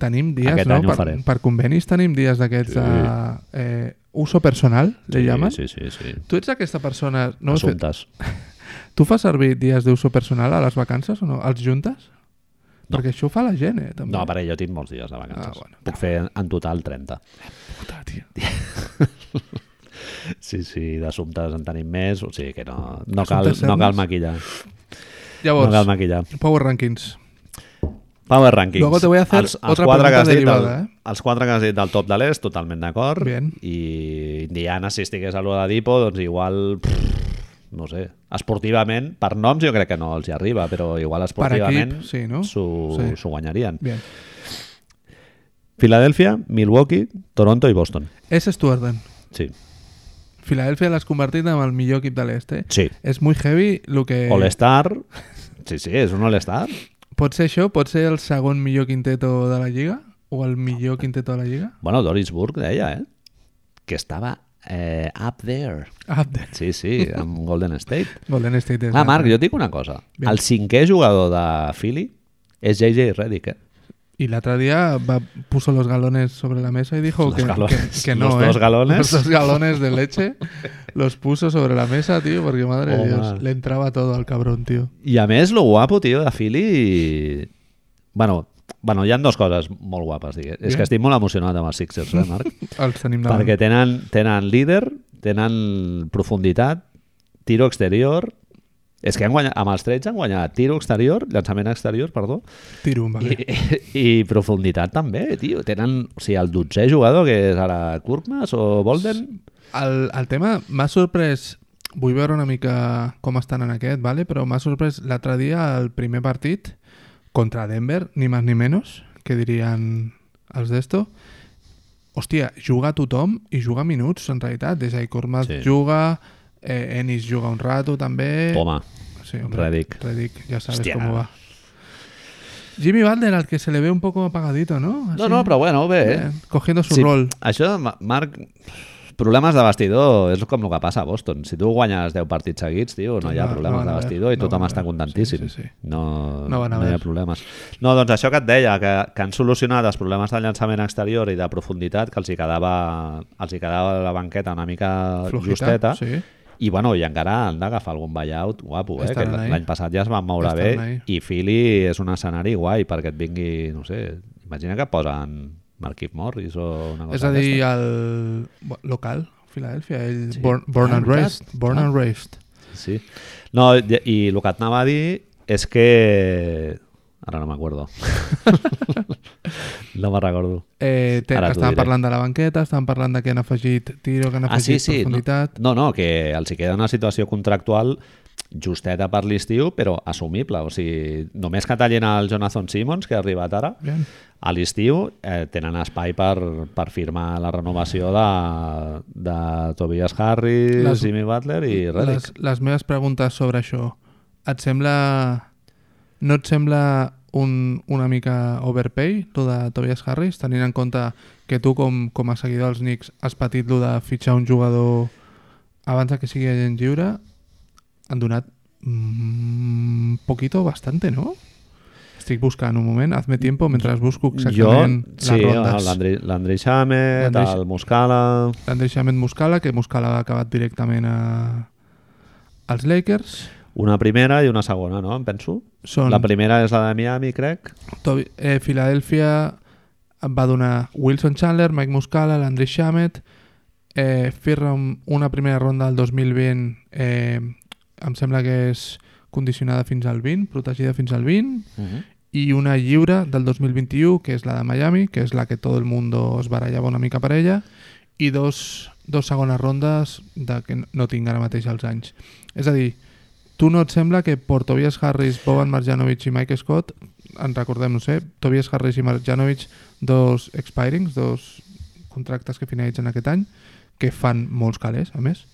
Speaker 2: Tenim dies,
Speaker 1: Aquest any ho
Speaker 2: no? Per,
Speaker 1: farem.
Speaker 2: per convenis tenim dies d'aquests
Speaker 1: Sí.
Speaker 2: de eh, uso personal, li llamen.
Speaker 1: Sí, sí, sí. sí.
Speaker 2: Tu ets aquesta persona... No ho he fet.
Speaker 1: Assumptes.
Speaker 2: Tu fas servir dies d'uso personal a les vacances o no? Els juntes?
Speaker 1: No.
Speaker 2: Perquè això ho fa la gent, eh? També.
Speaker 1: No, per jo tinc molts dies de vacances.
Speaker 2: Ah, bueno.
Speaker 1: Puc fer en total 30.
Speaker 2: Puta,
Speaker 1: *laughs*
Speaker 2: tio.
Speaker 1: Sí, sí, d'assumptes en tenim més, o sigui que no, no, cal,
Speaker 2: Assumptes
Speaker 1: no cal
Speaker 2: serios?
Speaker 1: maquillar. No
Speaker 2: Llavors,
Speaker 1: cal maquillar.
Speaker 2: Power Rankings.
Speaker 1: Power Rankings.
Speaker 2: Luego te voy a hacer
Speaker 1: quatre
Speaker 2: otra pregunta
Speaker 1: que has dit
Speaker 2: derivada,
Speaker 1: del-
Speaker 2: eh?
Speaker 1: Els quatre que has dit del top de l'est, totalment d'acord.
Speaker 2: Bien.
Speaker 1: I Indiana, si estigués a l'Oladipo, doncs igual... Pff, no sé, esportivament, per noms jo crec que no els hi arriba, però igual esportivament
Speaker 2: equip, sí, no?
Speaker 1: s'ho
Speaker 2: Sí.
Speaker 1: s'ho guanyarien.
Speaker 2: Bien.
Speaker 1: Filadèlfia, Milwaukee, Toronto i Boston.
Speaker 2: Ese es tu orden.
Speaker 1: Sí,
Speaker 2: Filadelfia eh. l'has convertit en el millor equip de l'est, eh?
Speaker 1: sí.
Speaker 2: És muy heavy lo que...
Speaker 1: All-Star... Sí, sí, és un All-Star.
Speaker 2: Pot ser això? Pot ser el segon millor quinteto de la Lliga? O el millor
Speaker 1: Ah,
Speaker 2: quinteto de la Lliga?
Speaker 1: Bueno, Doris Burke deia, eh? Que estava eh, up there.
Speaker 2: Ah, de...
Speaker 1: Sí, sí, amb Golden State.
Speaker 2: Golden State és...
Speaker 1: Ah, Marc, jo et dic una cosa.
Speaker 2: Bien.
Speaker 1: El cinquè jugador de Philly és JJ Redick, eh?
Speaker 2: I l'altre dia va, puso los galones sobre la mesa y dijo
Speaker 1: Los
Speaker 2: que,
Speaker 1: galones.
Speaker 2: que, que no,
Speaker 1: Los
Speaker 2: eh?
Speaker 1: dos galones.
Speaker 2: Los dos galones de leche los puso sobre la mesa, tío, porque madre de
Speaker 1: Home.
Speaker 2: Dios, le entraba todo al cabrón, tío.
Speaker 1: I a més, lo guapo, tio, de Philly... Bueno, bueno, hi han dues coses molt guapes, digues. És
Speaker 2: Bien.
Speaker 1: que estic molt emocionat amb els Sixers, eh, Marc?
Speaker 2: *laughs* Els tenim davant.
Speaker 1: Perquè tenen, tenen líder, tenen profunditat, tiro exterior... És que han guanyat, amb els trets han guanyat tiro exterior, llançament exterior, perdó,
Speaker 2: Tiro
Speaker 1: i,
Speaker 2: un vale.
Speaker 1: i, i *laughs* profunditat també, tio. Tenen, o sigui, el dotzè jugador, que és ara Kurkmas o Bolden,
Speaker 2: El, el tema m'ha sorprès... Vull veure una mica com estan en aquest, vale? però m'ha sorprès l'altre dia el primer partit contra Denver, ni més ni menys, que dirien els d'esto. Hòstia, juga tothom i juga minuts, en realitat. Des Cormas sí.
Speaker 1: Sí.
Speaker 2: juga, eh, Ennis juga un rato, també...
Speaker 1: toma.
Speaker 2: Sí, hombre,
Speaker 1: Redick.
Speaker 2: Redick, ya sabes
Speaker 1: Hòstia.
Speaker 2: cómo va. Jimmy Butler, al que se le ve un poco apagadito, ¿no?
Speaker 1: No, no, però bueno, bé.
Speaker 2: Eh, cogiendo su
Speaker 1: Sí,
Speaker 2: rol.
Speaker 1: Això, Ma- Marc, problemes de vestidor és com el que passa a Boston. Si tu guanyes 10 partits seguits, tio, Pues no hi ha
Speaker 2: No, no
Speaker 1: problemes
Speaker 2: van
Speaker 1: de
Speaker 2: haver,
Speaker 1: vestidor i
Speaker 2: eh. no
Speaker 1: tothom
Speaker 2: van
Speaker 1: està
Speaker 2: haver.
Speaker 1: contentíssim.
Speaker 2: Sí, sí, sí.
Speaker 1: No,
Speaker 2: No
Speaker 1: no,
Speaker 2: van
Speaker 1: hi
Speaker 2: haver.
Speaker 1: ha problemes. No, doncs això que et deia, que, que han solucionat els problemes de llançament exterior i de profunditat, que els hi quedava, els hi quedava la banqueta una mica
Speaker 2: Flojita,
Speaker 1: Ah, justeta,
Speaker 2: sí.
Speaker 1: i, bueno, i encara han d'agafar algun buyout guapo, eh? que
Speaker 2: Estaran ahí.
Speaker 1: l'any passat ja es van moure
Speaker 2: Estaran
Speaker 1: bé
Speaker 2: ahí.
Speaker 1: i Philly és un escenari guai perquè et vingui, no sé, imagina que posen Marquis Morris o una cosa
Speaker 2: És a dir,
Speaker 1: d'aquestes.
Speaker 2: el bo- local, Filadèlfia, ell
Speaker 1: Sí.
Speaker 2: born, born
Speaker 1: Ah,
Speaker 2: and
Speaker 1: veritat.
Speaker 2: raised. Born
Speaker 1: Ah.
Speaker 2: and raised.
Speaker 1: Sí. No, i, i el que et anava a dir és que... Ara no
Speaker 2: *laughs*
Speaker 1: m'acuerdo. no me'n recordo.
Speaker 2: Eh, té,
Speaker 1: Ara t'ho
Speaker 2: estaven
Speaker 1: diré. Ah,
Speaker 2: parlant de la banqueta, estaven parlant de que han afegit tiro, que han afegit profunditat...
Speaker 1: No, no, no, que els hi queda una situació contractual justeta per l'estiu, però assumible. O sigui, només que tallin el Jonathan Simmons, que ha arribat ara,
Speaker 2: Bien.
Speaker 1: a l'estiu eh, tenen espai per, per firmar la renovació de, de Tobias Harris,
Speaker 2: Les-
Speaker 1: Jimmy Butler i Redick.
Speaker 2: Les, les meves preguntes sobre això, et sembla... No et sembla un, una mica overpay, lo de Tobias Harris, tenint en compte que tu, com, com a seguidor dels Knicks, has patit lo de fitxar un jugador abans de que sigui agent lliure, han donat un mm, poquito bastante, no? Estic buscant un moment, hazme tiempo mentre busco exactament jo,
Speaker 1: sí, ah,
Speaker 2: les rondes.
Speaker 1: l'Andrei- l'Andrei Xamet,
Speaker 2: L'Andrei-
Speaker 1: el Muscala...
Speaker 2: L'Andrei Xamet Muscala, que Muscala ha acabat directament a... als Lakers.
Speaker 1: Una primera i una segona, no? Em penso.
Speaker 2: Són
Speaker 1: La primera és la de Miami, crec.
Speaker 2: Toby, eh, Filadèlfia em va donar Wilson Chandler, Mike Muscala, l'André Shamet, eh, firma un- una primera ronda del 2020, eh, em sembla que és condicionada fins al 20, protegida fins al 20, i una lliure del 2021, que és la de Miami, que és la que tot el món es barallava una mica per ella, i dos, dos segones rondes de que no tinc ara mateix els anys. És a dir, tu no et sembla que per Tobias Harris, Boban Marjanovic i Mike Scott, en recordem, no sé, Tobias Harris i Marjanovic, dos expirings, dos contractes que finalitzen aquest any, que fan molts calés, a més,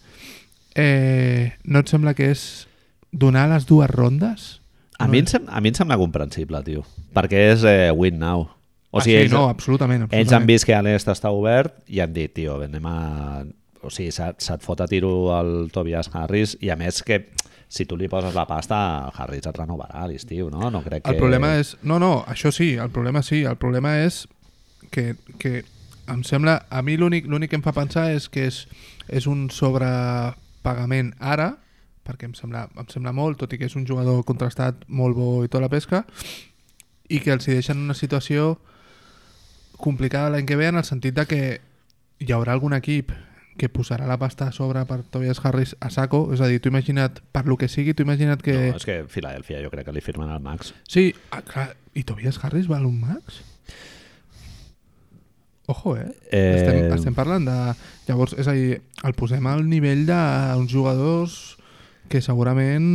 Speaker 2: eh, no et sembla que és donar les dues rondes?
Speaker 1: A,
Speaker 2: No
Speaker 1: mi
Speaker 2: és-
Speaker 1: em sem- a mi em sembla comprensible, tio. Perquè és eh, win now. O sigui,
Speaker 2: ah, sí,
Speaker 1: ells,
Speaker 2: no, absolutament, absolutament.
Speaker 1: ells han vist que a l'est està obert i han dit, tio, anem a... O sigui, se't, se't fot a tiro el Tobias Harris i a més que si tu li poses la pasta, el Harris et renovarà a l'estiu, no? No crec que...
Speaker 2: El problema és... No, no, això sí, el problema sí. El problema és que, que em sembla... A mi l'únic l'únic que em fa pensar és que és, és un sobrepagament ara, perquè em sembla, em sembla molt, tot i que és un jugador contrastat molt bo i tota la pesca, i que els hi deixen una situació complicada l'any que ve en el sentit de que hi haurà algun equip que posarà la pasta a sobre per Tobias Harris a saco, és a dir, tu imagina't, per lo que sigui, tu imagina't que...
Speaker 1: No, és que Filadèlfia jo crec que li firmen al Max.
Speaker 2: Sí, ah, clar. I Tobias Harris val un max? Ojo, eh?
Speaker 1: Eh,
Speaker 2: Estem, estem parlant de... Llavors, és a dir, el posem al nivell d'uns jugadors que segurament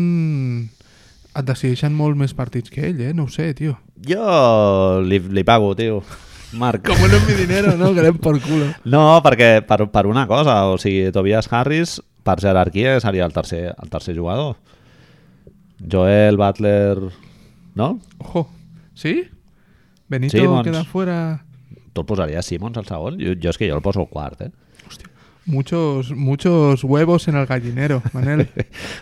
Speaker 2: et decideixen molt més partits que ell, eh? No ho sé, tio.
Speaker 1: Jo li, li pago, tio. *laughs* Marc.
Speaker 2: Como no es mi dinero, no? Que anem per culo.
Speaker 1: No, perquè per, per una cosa, o sigui, Tobias Harris, per jerarquia, seria el tercer, el tercer jugador. Joel, Butler... No?
Speaker 2: Ojo. Sí? Benito
Speaker 1: Simmons.
Speaker 2: queda fuera...
Speaker 1: Tu el posaries Simons al segon? Jo, jo és que jo el poso al quart, eh?
Speaker 2: Muchos, muchos huevos en el gallinero,
Speaker 1: *laughs*
Speaker 2: Manel.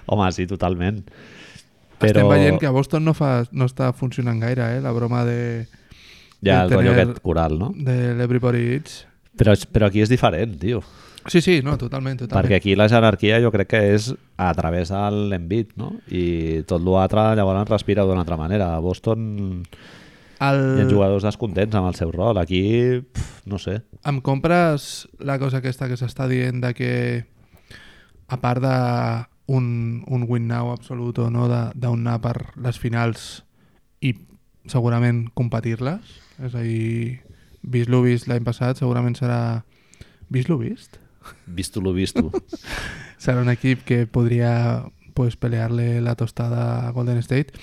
Speaker 1: Home, sí, totalment.
Speaker 2: Estem
Speaker 1: Però
Speaker 2: veient que a Boston no, fa, no està funcionant gaire, eh? La broma de...
Speaker 1: ja el
Speaker 2: de
Speaker 1: rotllo
Speaker 2: tener-
Speaker 1: aquest coral, no?
Speaker 2: de l'Everybody Eats.
Speaker 1: Però, és- però aquí és diferent, tio.
Speaker 2: Sí, sí, no, totalment, totalment.
Speaker 1: Perquè aquí la jerarquia jo crec que és a través de l'envit, no? I tot l'altre llavors respira d'una altra manera. A Boston hi ha
Speaker 2: El...
Speaker 1: jugadors descontents amb el seu rol. Aquí, pf, no sé.
Speaker 2: Em compres la cosa aquesta que s'està dient de que a part de un, un win now absolut o no, de- d'anar per les finals i segurament competir-les, és a dir, vist lo vist l'any passat, segurament serà... Vist lo vist?
Speaker 1: Visto lo
Speaker 2: *laughs*
Speaker 1: visto.
Speaker 2: serà un equip que podria pues, pelear-li la tostada a Golden State.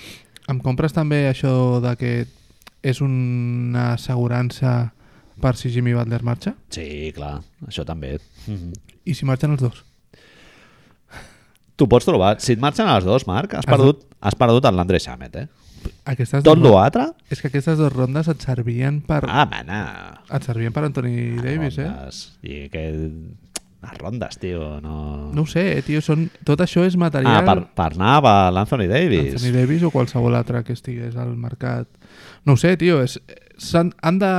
Speaker 2: Em compres també això de que és una assegurança per si Jimmy Butler marxa?
Speaker 1: Sí, clar, això també.
Speaker 2: I si marxen els dos?
Speaker 1: Tu pots trobar, si et marxen els dos, Marc, has
Speaker 2: Has de-
Speaker 1: perdut, has perdut en l'André Xamet, eh?
Speaker 2: Aquestes
Speaker 1: Tot
Speaker 2: dues,
Speaker 1: l'altre?
Speaker 2: és que aquestes dues rondes et servien per,
Speaker 1: Ah, mana.
Speaker 2: eh? et servien per Anthony Davis, eh?
Speaker 1: I que les rondes, tio, no...
Speaker 2: No ho sé, eh, tio, són... tot això és
Speaker 1: Ah,
Speaker 2: material...
Speaker 1: per, per anar a l'Anthony Davis.
Speaker 2: Anthony Davis o qualsevol altre que estigués al mercat. No ho sé, tio, és, s'han- han de...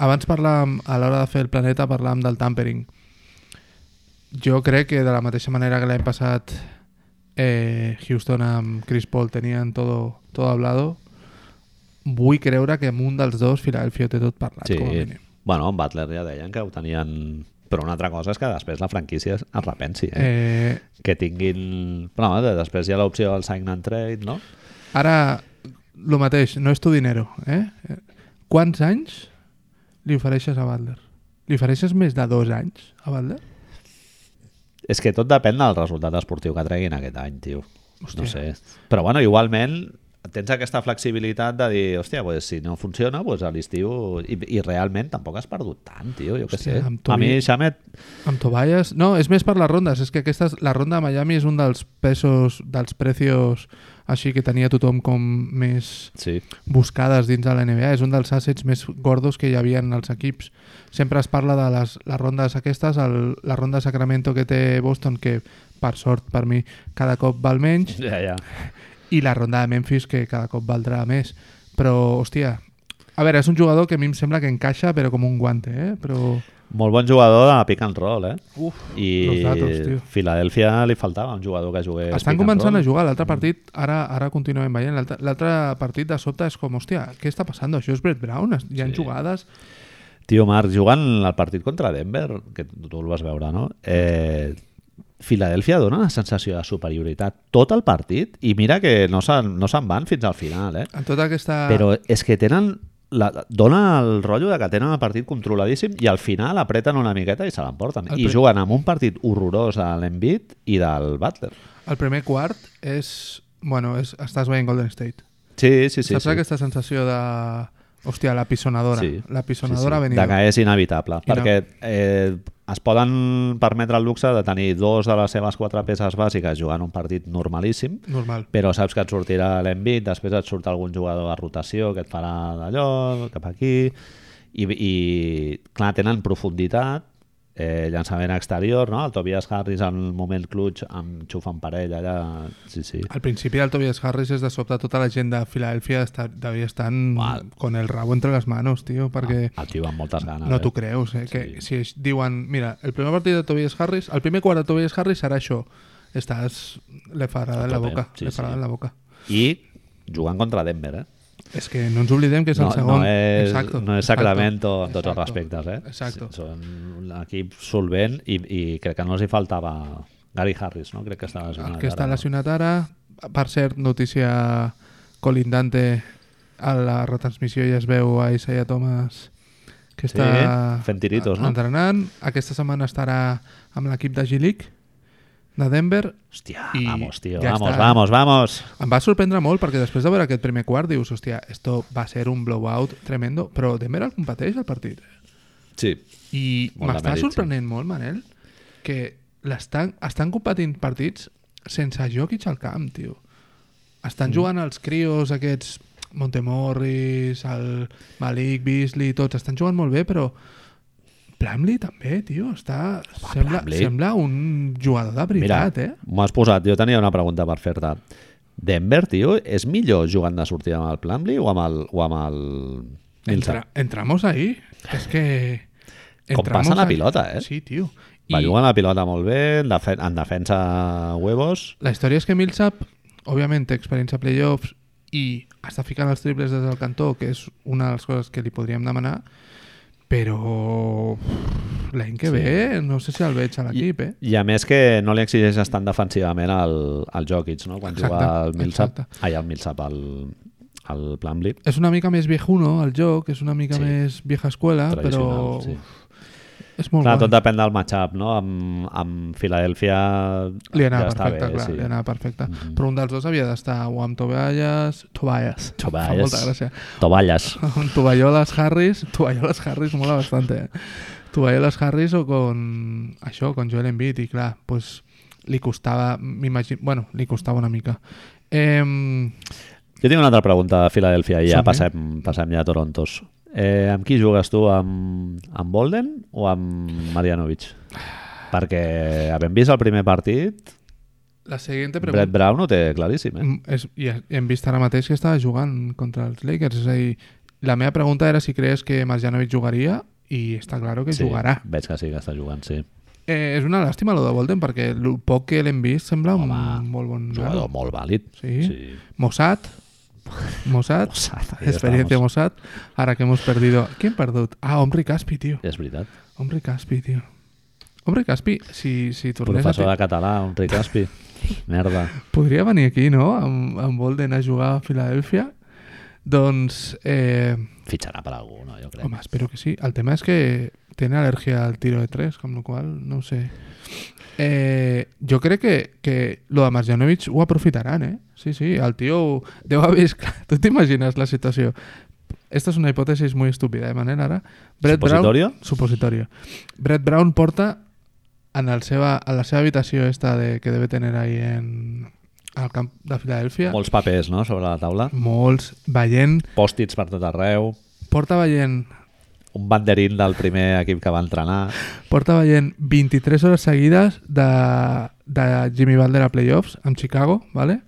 Speaker 2: Abans parlàvem, a l'hora de fer el planeta, parlàvem del tampering. Jo crec que de la mateixa manera que l'any passat eh, Houston amb Chris Paul tenien todo, todo hablado, vull creure que amb un dels dos Philadelphia ho té tot parlat,
Speaker 1: Sí.
Speaker 2: com a mínim.
Speaker 1: Bueno, en Butler ja deien que ho tenien... Però una altra cosa és que després la franquícia es es repensi, eh?
Speaker 2: Eh,
Speaker 1: eh? Que tinguin... Però no, de- després hi ha l'opció del sign and trade, no?
Speaker 2: Ara, el mateix, no és tu dinero, eh? Quants anys li ofereixes a Butler? Li ofereixes més de dos anys a Butler?
Speaker 1: És que tot depèn del resultat esportiu que treguin aquest any, tio. Hòstia.
Speaker 2: Hòstia.
Speaker 1: No sé. Però bueno, igualment tens aquesta flexibilitat de dir, hòstia, pues, si no funciona, pues, a l'estiu... I, I realment tampoc has perdut tant, tio, jo què sé.
Speaker 2: Hòstia, amb
Speaker 1: A mi,
Speaker 2: Tobi-
Speaker 1: Xamet,
Speaker 2: Amb Tobias? No, és més per les rondes. És que aquesta, la ronda de Miami és un dels pesos, dels precios així que tenia tothom com més
Speaker 1: sí.
Speaker 2: buscades dins de la NBA. És un dels assets més gordos que hi havia en els equips. Sempre es parla de les, les rondes aquestes, el, la ronda de Sacramento que té Boston, que per sort per mi cada cop val menys,
Speaker 1: Ja, ja.
Speaker 2: i la ronda de Memphis que cada cop valdrà més però hòstia a veure, és un jugador que a mi em sembla que encaixa però com un guante, eh? Però...
Speaker 1: Molt bon jugador de pick and roll, eh?
Speaker 2: Uf,
Speaker 1: I
Speaker 2: los datos, tio.
Speaker 1: Filadèlfia li faltava un jugador que jugués pick
Speaker 2: Estan
Speaker 1: and
Speaker 2: començant a
Speaker 1: roll.
Speaker 2: jugar. L'altre partit, ara ara continuem veient, l'altre- l'altre partit de sobte és com, hòstia, què està passant? Això és Brett Brown? Es- Hi ha
Speaker 1: Sí.
Speaker 2: jugades?
Speaker 1: Tio Marc, jugant al partit contra Denver, que tu tu el vas veure, no? Eh, Filadèlfia dona una sensació de superioritat tot el partit i mira que no se'n no se'n van fins al final, eh?
Speaker 2: En tota aquesta...
Speaker 1: Però és que tenen la, dona el rotllo de que tenen el partit controladíssim i al final apreten una miqueta i se l'emporten.
Speaker 2: El
Speaker 1: I
Speaker 2: pri-
Speaker 1: juguen amb un partit horrorós de l'Embiid i del Butler.
Speaker 2: El primer quart és... Bueno, és, estàs veient Golden State.
Speaker 1: Sí, sí, sí.
Speaker 2: Sí, Saps
Speaker 1: sí.
Speaker 2: aquesta sensació de... Hòstia, la pisonadora.
Speaker 1: Sí.
Speaker 2: La pisonadora sí, sí.
Speaker 1: De que és inevitable,
Speaker 2: I no.
Speaker 1: perquè eh, es poden permetre el luxe de tenir dos de les seves quatre peces bàsiques jugant un partit normalíssim,
Speaker 2: Normal.
Speaker 1: però saps que et sortirà l'envit, després et surt algun jugador de rotació que et farà d'allò, cap aquí, i, i clar, tenen profunditat, eh, llançament exterior, no? el Tobias Harris en el moment clutch enxufa en parell allà, sí, sí.
Speaker 2: Al principi del Tobias Harris és de sobte tota la gent de Filadèlfia està, devia estar en-
Speaker 1: Mal.
Speaker 2: con el rabo entre les manos, tio, perquè
Speaker 1: El tio amb moltes ganes.
Speaker 2: no
Speaker 1: eh?
Speaker 2: t'ho creus, eh? Que si es diuen, mira, el primer partit de Tobias Harris, el primer quart de Tobias Harris serà això. Estàs... Le farà
Speaker 1: A
Speaker 2: en la
Speaker 1: tope,
Speaker 2: boca,
Speaker 1: sí,
Speaker 2: sí, le
Speaker 1: sí.
Speaker 2: farà en la boca.
Speaker 1: I jugant contra Denver, eh?
Speaker 2: És que no ens oblidem que és el
Speaker 1: no,
Speaker 2: segon.
Speaker 1: No és,
Speaker 2: Exacto,
Speaker 1: no és
Speaker 2: exacto,
Speaker 1: Sacramento en tots els
Speaker 2: exacto,
Speaker 1: respectes, eh?
Speaker 2: Exacto.
Speaker 1: Sí, Són un equip solvent i, i crec que no els hi faltava Gary Harris, no? Crec que està
Speaker 2: El
Speaker 1: lesionat.
Speaker 2: Ah, que està
Speaker 1: ara, no?
Speaker 2: lesionat ara, per cert, notícia colindante a la retransmissió ja es veu a Isaiah Thomas que
Speaker 1: Sí,
Speaker 2: està
Speaker 1: fent tiritos, no?
Speaker 2: entrenant. Aquesta setmana estarà amb l'equip de G-League de Denver.
Speaker 1: Hòstia,
Speaker 2: I
Speaker 1: vamos, tio,
Speaker 2: ja
Speaker 1: vamos,
Speaker 2: està.
Speaker 1: vamos, vamos.
Speaker 2: Em va sorprendre molt perquè després de veure aquest primer quart dius, hòstia, esto va ser un blowout tremendo, però Denver el competeix el partit.
Speaker 1: Sí.
Speaker 2: I
Speaker 1: Molt de
Speaker 2: m'està
Speaker 1: mèrit, sí.
Speaker 2: sorprenent molt, Manel, que l'estan estan competint partits sense Jokic al camp, tio.
Speaker 1: Mm.
Speaker 2: Estan jugant els crios aquests, Montemorris, el Malik, Beasley, tots, estan jugant molt bé, però Plumlee també, tio, està... sembla,
Speaker 1: Plumlee.
Speaker 2: sembla un jugador de veritat,
Speaker 1: Mira,
Speaker 2: eh?
Speaker 1: m'ho has posat, jo tenia una pregunta per fer-te. Denver, tio, és millor jugant de sortida amb el Plumlee o amb el, o amb el Millsap?
Speaker 2: Entra, entramos ahí. És que...
Speaker 1: Com
Speaker 2: entramos
Speaker 1: passa la
Speaker 2: ahí.
Speaker 1: pilota, eh?
Speaker 2: Sí, tio.
Speaker 1: Va jugant la pilota molt bé, en, defen en defensa huevos.
Speaker 2: La història és que Millsap, òbviament, té experiència a playoffs i està ficant els triples des del cantó, que és una de les coses que li podríem demanar, però l'any que
Speaker 1: Sí.
Speaker 2: sí. ve no sé si el veig a l'equip, eh?
Speaker 1: I a més que no li exigeixes tant defensivament al, al Jokic, no? Quan
Speaker 2: Exacte,
Speaker 1: juga al Millsap,
Speaker 2: exacte.
Speaker 1: ai, al Millsap, al, al Plumlee.
Speaker 2: És una mica més viejuno el joc, és una mica
Speaker 1: Sí.
Speaker 2: sí. més vieja escuela, Ah, però
Speaker 1: Tradicional, sí.
Speaker 2: és molt
Speaker 1: Clar, tot
Speaker 2: guai.
Speaker 1: depèn del matchup, no? Amb, amb Filadèlfia
Speaker 2: Li
Speaker 1: ja
Speaker 2: anava
Speaker 1: està
Speaker 2: perfecte,
Speaker 1: bé,
Speaker 2: clar,
Speaker 1: sí.
Speaker 2: li anava perfecte.
Speaker 1: Mhm.
Speaker 2: Però un dels dos havia d'estar o amb Tobias... Tobias. Fa
Speaker 1: Tovalles.
Speaker 2: molta gràcia.
Speaker 1: Tovalles.
Speaker 2: con Tovallolas Harris, Tovallolas Harris mola bastante, eh? Tovallolas Harris o con això, con Joel Embiid i clar, pues, li costava m'imagino, bueno, li costava una mica eh,
Speaker 1: Jo tinc una altra pregunta de Filadèlfia i ja
Speaker 2: Som-hi.
Speaker 1: passem, passem ja a Torontos. Eh, amb qui jugues tu? Amb, amb Bolden o amb Marianovic? Perquè, havent vist el primer partit,
Speaker 2: La siguiente pregunta...
Speaker 1: Brett Brown ho té claríssim, eh?
Speaker 2: Mm, És, i, i hem vist ara mateix que estava jugant contra els Lakers. És a dir, la meva pregunta era si crees que Marjanovic jugaria i està claro que
Speaker 1: Sí,
Speaker 2: jugarà.
Speaker 1: Veig que sí que està jugant, sí.
Speaker 2: Eh, és una làstima lo de Bolden perquè el poc que l'hem vist sembla un
Speaker 1: Home,
Speaker 2: molt bon
Speaker 1: Un
Speaker 2: nano.
Speaker 1: jugador molt vàlid.
Speaker 2: Sí. Mossad. Mossad.
Speaker 1: Mossad, ahí
Speaker 2: Experiencia
Speaker 1: estamos.
Speaker 2: Mossad. Ahora que hemos perdido... ¿Quién perdut? Ah, Omri Caspi, tío.
Speaker 1: És veritat.
Speaker 2: Omri Caspi, tío. Omri Caspi, si, si tornés
Speaker 1: Professor
Speaker 2: a...
Speaker 1: de català, un Caspi. Merda.
Speaker 2: podria venir aquí, no?, amb, amb Bolden a jugar a Filadèlfia. Doncs, eh,
Speaker 1: Fitxarà per algú, no? Jo crec.
Speaker 2: home, espero que sí. El tema és que tiene alergia al tiro de tres, con lo cual, no ho sé. Eh, jo crec que, que lo de Marjanovic ho aprofitaran, eh? Sí, sí, el tio deu haver... esclat. Tu t'imagines la situació? Esta es una hipótesis muy estúpida, de manera ara. Brett
Speaker 1: Supositorio?
Speaker 2: Brown, supositorio. Brett Brown porta en, el seva, a la seva habitació esta de, que debe tener ahí en, al camp de Filadèlfia,
Speaker 1: Molts papers, no?, sobre la taula.
Speaker 2: molts, veient,
Speaker 1: Pòstits per tot arreu.
Speaker 2: porta veient
Speaker 1: Un banderín del primer equip que va entrenar.
Speaker 2: Porta veient 23 hores seguides de, de Jimmy Butler a playoffs amb Chicago, ¿vale?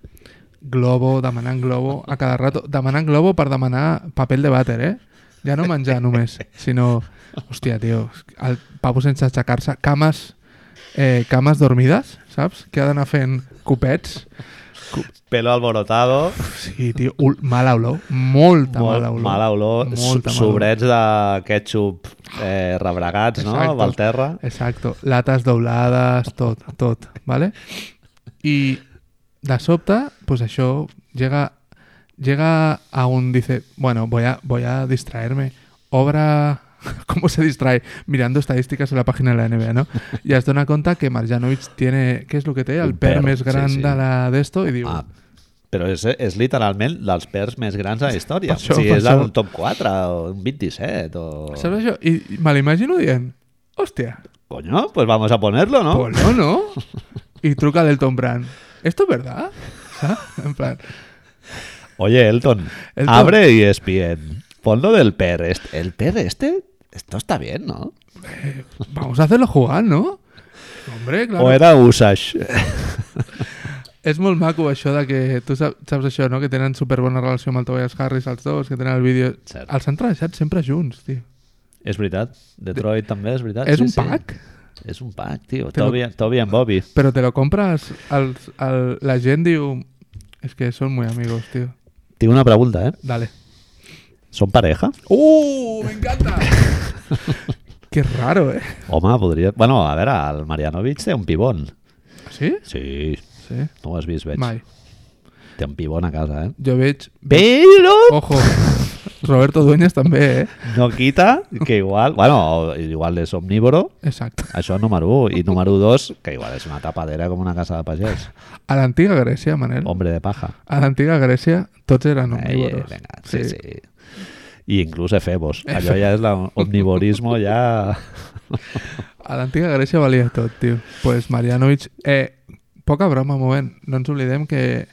Speaker 2: Globo, demanant globo a cada rato. Demanant globo per demanar papel de vàter, eh? Ja no menjar només, sinó... Hòstia, tio, el papo sense aixecar-se. Cames, eh, cames dormides, saps? Que ha d'anar fent copets.
Speaker 1: Pelo alborotado.
Speaker 2: Sí, tio, ul, mala olor. Molta mala olor.
Speaker 1: Mala olor.
Speaker 2: Molta
Speaker 1: so-
Speaker 2: mala olor.
Speaker 1: Sobrets de ketchup eh, rebregats, no?,
Speaker 2: Exacte.
Speaker 1: pel terra.
Speaker 2: Exacto, latas doblades, tot, tot, ¿vale? Y de sobte, pues això llega, llega a un, dice, bueno, voy a, voy a distraerme. Obra, *laughs* ¿cómo se distrae? Mirando estadísticas en la página de la NBA, ¿no? Y es dona compte que Marjanovic tiene, ¿qué es lo que té? El
Speaker 1: Un perm,
Speaker 2: per més gran
Speaker 1: sí, sí.
Speaker 2: de la d'esto, i diu,
Speaker 1: Ah, però és, és literalment dels perds més grans de la història.
Speaker 2: Per
Speaker 1: o
Speaker 2: això,
Speaker 1: sigui,
Speaker 2: per
Speaker 1: és el
Speaker 2: això.
Speaker 1: top 4 o un 27 o...
Speaker 2: saps això? I me l'imagino dient, hòstia,
Speaker 1: Coño, pues vamos a ponerlo, ¿no?
Speaker 2: Pues no, no. Y truca del Tom Brand. ¿Esto es verdad? *laughs* ¿Sabes? En plan,
Speaker 1: Oye, Elton,
Speaker 2: Elton.
Speaker 1: abre E y ESPN. Ponlo del per. Este. El per este, esto está bien, ¿no?
Speaker 2: vamos a hacerlo jugar, ¿no? Hombre, claro.
Speaker 1: O era Usage. *laughs*
Speaker 2: És molt maco això de que... Tu saps, saps això, no? Que tenen superbona relació amb el Tobias Harris, els dos, que tenen el vídeo...
Speaker 1: Cert.
Speaker 2: Els han trajat sempre junts, tio.
Speaker 1: és veritat. Detroit també és veritat.
Speaker 2: és
Speaker 1: sí,
Speaker 2: un
Speaker 1: sí.
Speaker 2: pack,
Speaker 1: És un pack, tio.
Speaker 2: Te lo-
Speaker 1: Toby, Toby and Bobby.
Speaker 2: però te lo compres... Els, el, la gent diu... És que són muy amigos, tio.
Speaker 1: Tinc una pregunta, eh?
Speaker 2: Dale.
Speaker 1: Són pareja?
Speaker 2: ¡Uh! ¡Me *laughs* encanta! Qué raro, ¿eh?
Speaker 1: Home, podria... Bueno, a veure, el Marianovic té un pibon.
Speaker 2: ¿Sí?
Speaker 1: Sí,
Speaker 2: Sí.
Speaker 1: no ho has vist, veig.
Speaker 2: Mai.
Speaker 1: Té un pibon a casa, eh?
Speaker 2: Jo veig...
Speaker 1: Però
Speaker 2: Ojo, Roberto Dueñas també, eh?
Speaker 1: no quita que igual... Bueno, igual és omnívoro,
Speaker 2: Exacte.
Speaker 1: Això número 1. I número 2, que igual és una tapadera com una casa de pagès.
Speaker 2: A l'antiga Grècia, Manel,
Speaker 1: Hombre de paja.
Speaker 2: a l'antiga Grècia tots eren
Speaker 1: Ahí, eh,
Speaker 2: omnívoros.
Speaker 1: venga, sí, sí. I inclús
Speaker 2: *laughs*
Speaker 1: efebos. Allò ja és l'omnivorismo ja...
Speaker 2: A l'antiga Grècia valia tot, tio. pues Marjanovic... Eh, poca broma, un moment. No ens oblidem que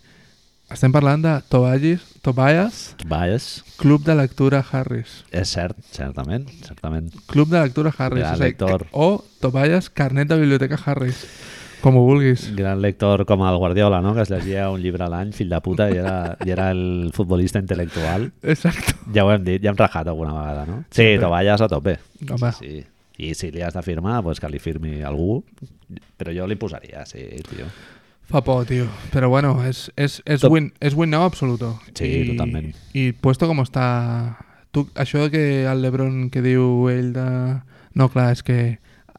Speaker 2: estem parlant de Tobias, Tobias
Speaker 1: Vages.
Speaker 2: Club de Lectura Harris.
Speaker 1: És cert, certament, certament.
Speaker 2: Club de Lectura Harris.
Speaker 1: Gran
Speaker 2: és a dir,
Speaker 1: lector.
Speaker 2: O Tobias Carnet de Biblioteca Harris. Com ho vulguis.
Speaker 1: Gran lector com el Guardiola, no? que es llegia un llibre a l'any, fill de puta, i era, i era el futbolista intel·lectual.
Speaker 2: Exacte.
Speaker 1: Ja ho hem dit, ja hem rajat alguna vegada, no? Sí, tovalles a tope.
Speaker 2: Home,
Speaker 1: Sí. I si li has de firmar, pues que li firmi algú. Però jo li posaria, sí, tio.
Speaker 2: Fa por, tío. Pero bueno, es, es, es,
Speaker 1: Tot-
Speaker 2: win, es win now absoluto.
Speaker 1: Sí, totalment.
Speaker 2: I puesto com està... Tu, això que el Lebron que diu ell de... No, clar, és que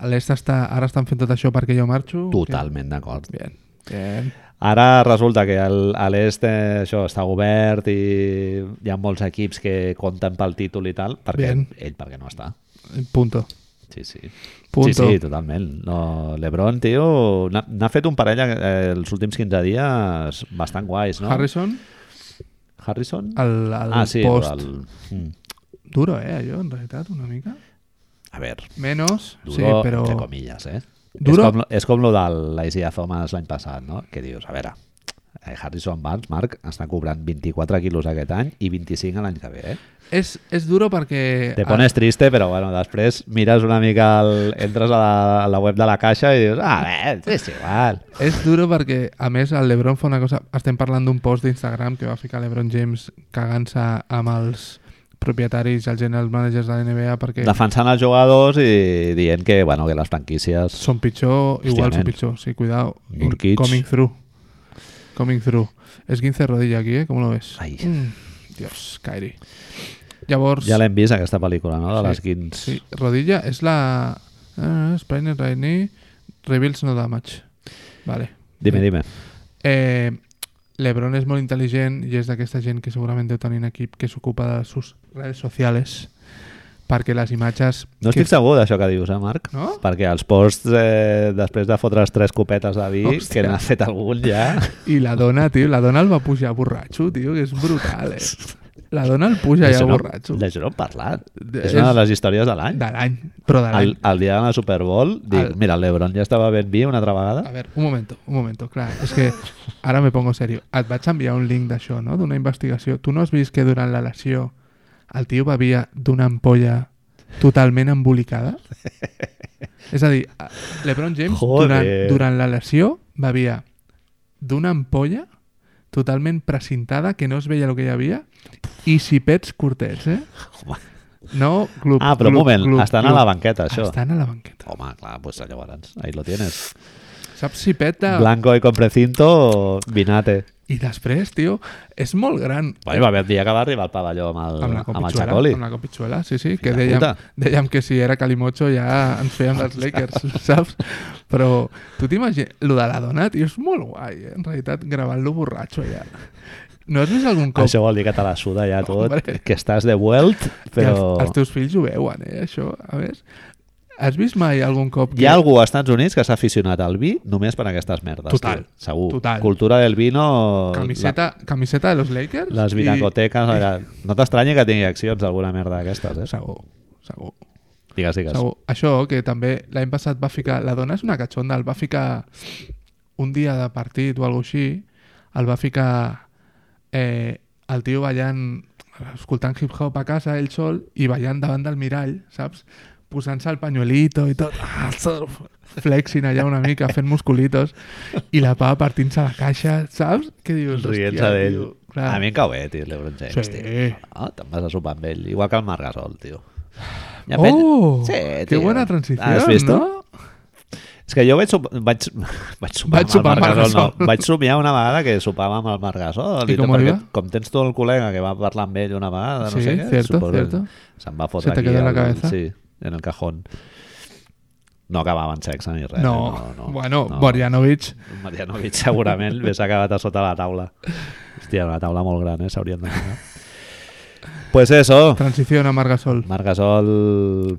Speaker 2: a l'est està, ara estan fent tot això perquè jo marxo.
Speaker 1: Totalment d'acord.
Speaker 2: Que... Bien. Bien.
Speaker 1: Ara resulta que el, a l'est eh, això està obert i hi ha molts equips que compten pel títol i tal, perquè
Speaker 2: Bien.
Speaker 1: ell perquè no està.
Speaker 2: Punto.
Speaker 1: Sí, sí.
Speaker 2: Punto.
Speaker 1: Sí, sí, totalment. No, Lebron, tio, n'ha- n'ha fet un parell eh, els últims 15 dies bastant guais, no?
Speaker 2: Harrison,
Speaker 1: Harrison?
Speaker 2: el, el
Speaker 1: ah, sí,
Speaker 2: post...
Speaker 1: El... Mm.
Speaker 2: Duro, eh, allò, en realitat, una mica.
Speaker 1: A veure,
Speaker 2: Menos,
Speaker 1: duro,
Speaker 2: sí, però...
Speaker 1: entre comilles, eh?
Speaker 2: Duro?
Speaker 1: És com, és com lo de l'Isia Thomas l'any passat, no? Que dius, a veure, Eh, Harrison Barnes, Marc, està cobrant 24 quilos aquest any i 25 l'any que ve, eh?
Speaker 2: És, és duro perquè...
Speaker 1: Te pones triste, però bueno, després mires una mica, el, entres a la, a la web de la caixa i dius, ah, bé, és igual.
Speaker 2: Ah, és duro perquè, a més, el LeBron fa una cosa... Estem parlant d'un post d'Instagram que va ficar LeBron James cagant-se amb els propietaris i els general managers de la NBA perquè
Speaker 1: Defensant els jugadors i dient que, bueno, que les franquícies...
Speaker 2: són pitjor, igual són
Speaker 1: Hòstiament.
Speaker 2: pitjor. Sí, cuidao. In-
Speaker 1: Nurkic.
Speaker 2: Coming through. Coming through. Es 15 rodilla aquí, eh? Com lo ves?
Speaker 1: Ai.
Speaker 2: Mm, Dios, Kairi. Llavors...
Speaker 1: Ja l'hem vist, aquesta pel·lícula, no? De
Speaker 2: Sí,
Speaker 1: les 15...
Speaker 2: Sí, rodilla és la... Ah, sprain and right knee, reveals no damage. Vale.
Speaker 1: Dime, dime.
Speaker 2: Eh, L'Ebron és molt intel·ligent i és d'aquesta gent que segurament deu tenir un equip que s'ocupa de sus redes socials perquè les imatges...
Speaker 1: No estic
Speaker 2: que...
Speaker 1: segur d'això que dius, eh, Marc?
Speaker 2: No?
Speaker 1: Perquè els posts, eh, després de fotre's tres copetes de vi,
Speaker 2: Hòstia.
Speaker 1: que n'ha fet algun ja...
Speaker 2: I la dona, tio, la dona el va pujar borratxo, tio, que és brutal, eh?
Speaker 1: *laughs*
Speaker 2: La dona el puja ja
Speaker 1: D'això no,
Speaker 2: borratxo.
Speaker 1: d'això no hem parlat.
Speaker 2: De-
Speaker 1: És una
Speaker 2: és-
Speaker 1: de les històries de l'any.
Speaker 2: De l'any, però de
Speaker 1: El,
Speaker 2: l'any.
Speaker 1: el dia de la Super Bowl, dic,
Speaker 2: El-
Speaker 1: mira, l'Ebron ja estava ben vi una altra
Speaker 2: A
Speaker 1: vegada.
Speaker 2: ver, un momento, un momento, clar, és que ara me pongo serio. Et vaig enviar un link d'això, no?, d'una investigació. Tu no has vist que durant la lesió el tio bevia d'una ampolla totalment embolicada? És a dir, a- LeBron James
Speaker 1: Joder.
Speaker 2: durant, durant la lesió bevia d'una ampolla totalment precintada que no es veia el que hi havia i xipets curtets, eh?
Speaker 1: Home.
Speaker 2: No, club,
Speaker 1: Ah, però un
Speaker 2: club,
Speaker 1: moment,
Speaker 2: club,
Speaker 1: estan a
Speaker 2: club.
Speaker 1: la banqueta, això.
Speaker 2: Estan a la banqueta.
Speaker 1: Home, clar, pues llavors, ahí lo tienes.
Speaker 2: Saps xipet de...
Speaker 1: Blanco y con precinto, vinate.
Speaker 2: I després, tio, és molt gran.
Speaker 1: Bueno, hi va haver el dia que va arribar al pavelló amb el,
Speaker 2: amb la
Speaker 1: amb el
Speaker 2: copitxuela,
Speaker 1: Chacoli.
Speaker 2: amb la copitxuela, sí, sí, que
Speaker 1: Filla
Speaker 2: dèiem,
Speaker 1: puta.
Speaker 2: dèiem que si era Calimocho ja ens fèiem dels Lakers, *laughs* saps? Però tu t'imagines, lo de la dona, tio, és molt guai, eh? en realitat, gravant-lo borratxo allà. No has vist algun cop
Speaker 1: Això vol dir que te la suda ja tot,
Speaker 2: *laughs* Hombre.
Speaker 1: que estàs de vuelt,
Speaker 2: que els,
Speaker 1: però...
Speaker 2: els teus fills ho veuen, eh, això, a més? Has vist mai algun cop que...
Speaker 1: Hi ha algú als Estats Units que s'ha aficionat al vi només per aquestes merdes.
Speaker 2: Total.
Speaker 1: Tio. Segur.
Speaker 2: Total.
Speaker 1: Cultura del vino...
Speaker 2: Camiseta, camiseta de los Lakers?
Speaker 1: La, les vinacoteques... allà. No t'estranyi que tingui accions d'alguna merda d'aquestes,
Speaker 2: I...
Speaker 1: eh?
Speaker 2: Segur, segur.
Speaker 1: Digues, digues.
Speaker 2: Segur. Això que també l'any passat va ficar... La dona és una catxonda, el va ficar un dia de partit o alguna així, el va ficar eh, el tio ballant, escoltant hip-hop a casa, ell sol, i ballant davant del mirall, saps? Posant-se el pañuelito i tot, *laughs* ah, surf, flexing allà una mica, fent musculitos, i la pava partint-se la caixa, saps? Què dius?
Speaker 1: Rient-se
Speaker 2: Hòstia,
Speaker 1: d'ell.
Speaker 2: tio, clar.
Speaker 1: A mi em cau bé, tio, l'Ebron James,
Speaker 2: Sí.
Speaker 1: tio. No, te'n vas a sopar amb ell. Igual que el Marc Gasol, tio. Ja pen-
Speaker 2: Oh,
Speaker 1: Sí,
Speaker 2: que
Speaker 1: tio.
Speaker 2: bona transició,
Speaker 1: Has vist,
Speaker 2: no?
Speaker 1: És que jo vaig, sop... vaig... *laughs* vaig sopar
Speaker 2: Vaig
Speaker 1: vaig amb el
Speaker 2: sopar amb
Speaker 1: Marc
Speaker 2: el
Speaker 1: Gasol,
Speaker 2: Gasol.
Speaker 1: no. Vaig somiar una vegada que sopava amb el Marc Gasol.
Speaker 2: I
Speaker 1: I, tot,
Speaker 2: com
Speaker 1: perquè,
Speaker 2: va?
Speaker 1: com tens tu el col·lega que va parlar amb ell una vegada, no
Speaker 2: Sí,
Speaker 1: sé què,
Speaker 2: cierto,
Speaker 1: suposo que
Speaker 2: cierto.
Speaker 1: Se'n va
Speaker 2: Se
Speaker 1: fotre
Speaker 2: te
Speaker 1: aquí
Speaker 2: quedó en la
Speaker 1: al-
Speaker 2: cabeza.
Speaker 1: Sí, en el cajón. No acabaven sexe ni res.
Speaker 2: No,
Speaker 1: eh? no, no
Speaker 2: bueno,
Speaker 1: no.
Speaker 2: Borjanovic
Speaker 1: Marianovic
Speaker 2: *laughs*
Speaker 1: segurament hauria acabat a sota la taula. Hòstia, una taula molt gran, eh? S'haurien de mirar. Pues eso.
Speaker 2: Transició a Margasol.
Speaker 1: Marc Gasol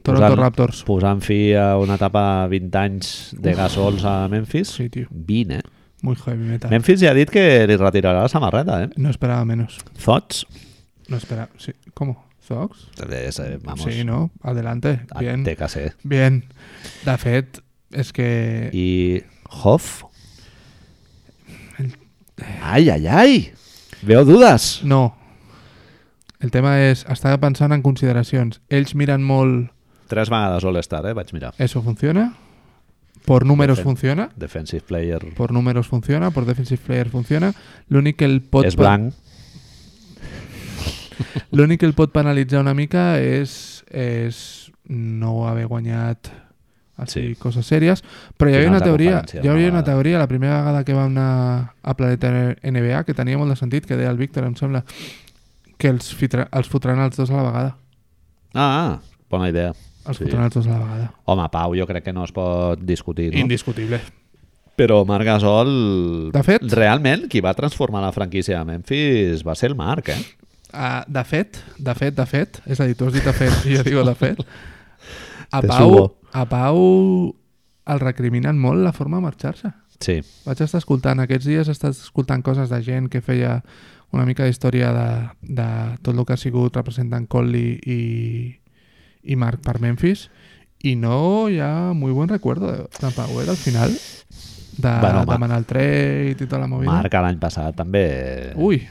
Speaker 2: Toronto
Speaker 1: posant,
Speaker 2: Raptors.
Speaker 1: posant fi a una etapa 20 anys de Gasols a Memphis.
Speaker 2: Sí, tio.
Speaker 1: 20, eh?
Speaker 2: Muy heavy metal.
Speaker 1: Memphis ja ha dit que li retirarà la samarreta, eh?
Speaker 2: No esperaba menos.
Speaker 1: Thoughts?
Speaker 2: No esperaba. Sí. ¿Cómo? ¿Zox?
Speaker 1: És, eh, vamos,
Speaker 2: Sí, ¿no? Adelante.
Speaker 1: a-
Speaker 2: Bien.
Speaker 1: Ah, Té que ser.
Speaker 2: Bien. De fet, és que...
Speaker 1: I Hoff? Ai, ai, ai! Veo dudes.
Speaker 2: No. El tema és, estava pensant en consideracions. Ells miren molt...
Speaker 1: Tres vegades All-Star, eh? Vaig mirar.
Speaker 2: Eso funciona? Por números
Speaker 1: Defen-
Speaker 2: funciona?
Speaker 1: Defensive player
Speaker 2: Por números funciona, por defensive player funciona. L'únic que el pot...
Speaker 1: és blanc.
Speaker 2: L'únic que el pot penalitzar una mica és, és no haver guanyat així,
Speaker 1: Sí.
Speaker 2: sí. coses sèries, però hi havia
Speaker 1: Finals
Speaker 2: una
Speaker 1: de
Speaker 2: teoria,
Speaker 1: conferència,
Speaker 2: hi havia
Speaker 1: una
Speaker 2: una
Speaker 1: vegada.
Speaker 2: teoria la primera vegada que vam anar a Planeta NBA que tenia molt de sentit, que deia el Víctor, em sembla, que els, fitra, els fotran els dos a la vegada.
Speaker 1: Ah, ah, bona idea.
Speaker 2: Els
Speaker 1: Sí.
Speaker 2: sí. fotran els dos a la vegada.
Speaker 1: Home, Pau, jo crec que no es pot discutir, no?
Speaker 2: Indiscutible.
Speaker 1: Però Marc Gasol...
Speaker 2: De fet-
Speaker 1: Realment, qui va transformar la franquícia de Memphis va ser el Marc, eh?
Speaker 2: Uh, de fet, de fet, de fet, és a dir, tu has dit de fet i jo digo de fet, a
Speaker 1: Te
Speaker 2: Pau,
Speaker 1: subo.
Speaker 2: a Pau el recriminen molt la forma de marxar-se.
Speaker 1: Sí.
Speaker 2: Vaig estar escoltant, aquests dies he estat escoltant coses de gent que feia una mica d'història de, de tot el que ha sigut representant Conley i, i Marc per Memphis i no hi ha molt bon recuerdo de, de Pau, eh, al final. de
Speaker 1: Bueno, Marc-
Speaker 2: demanar el trade i tota la movida.
Speaker 1: Marc l'any passat també
Speaker 2: Ui,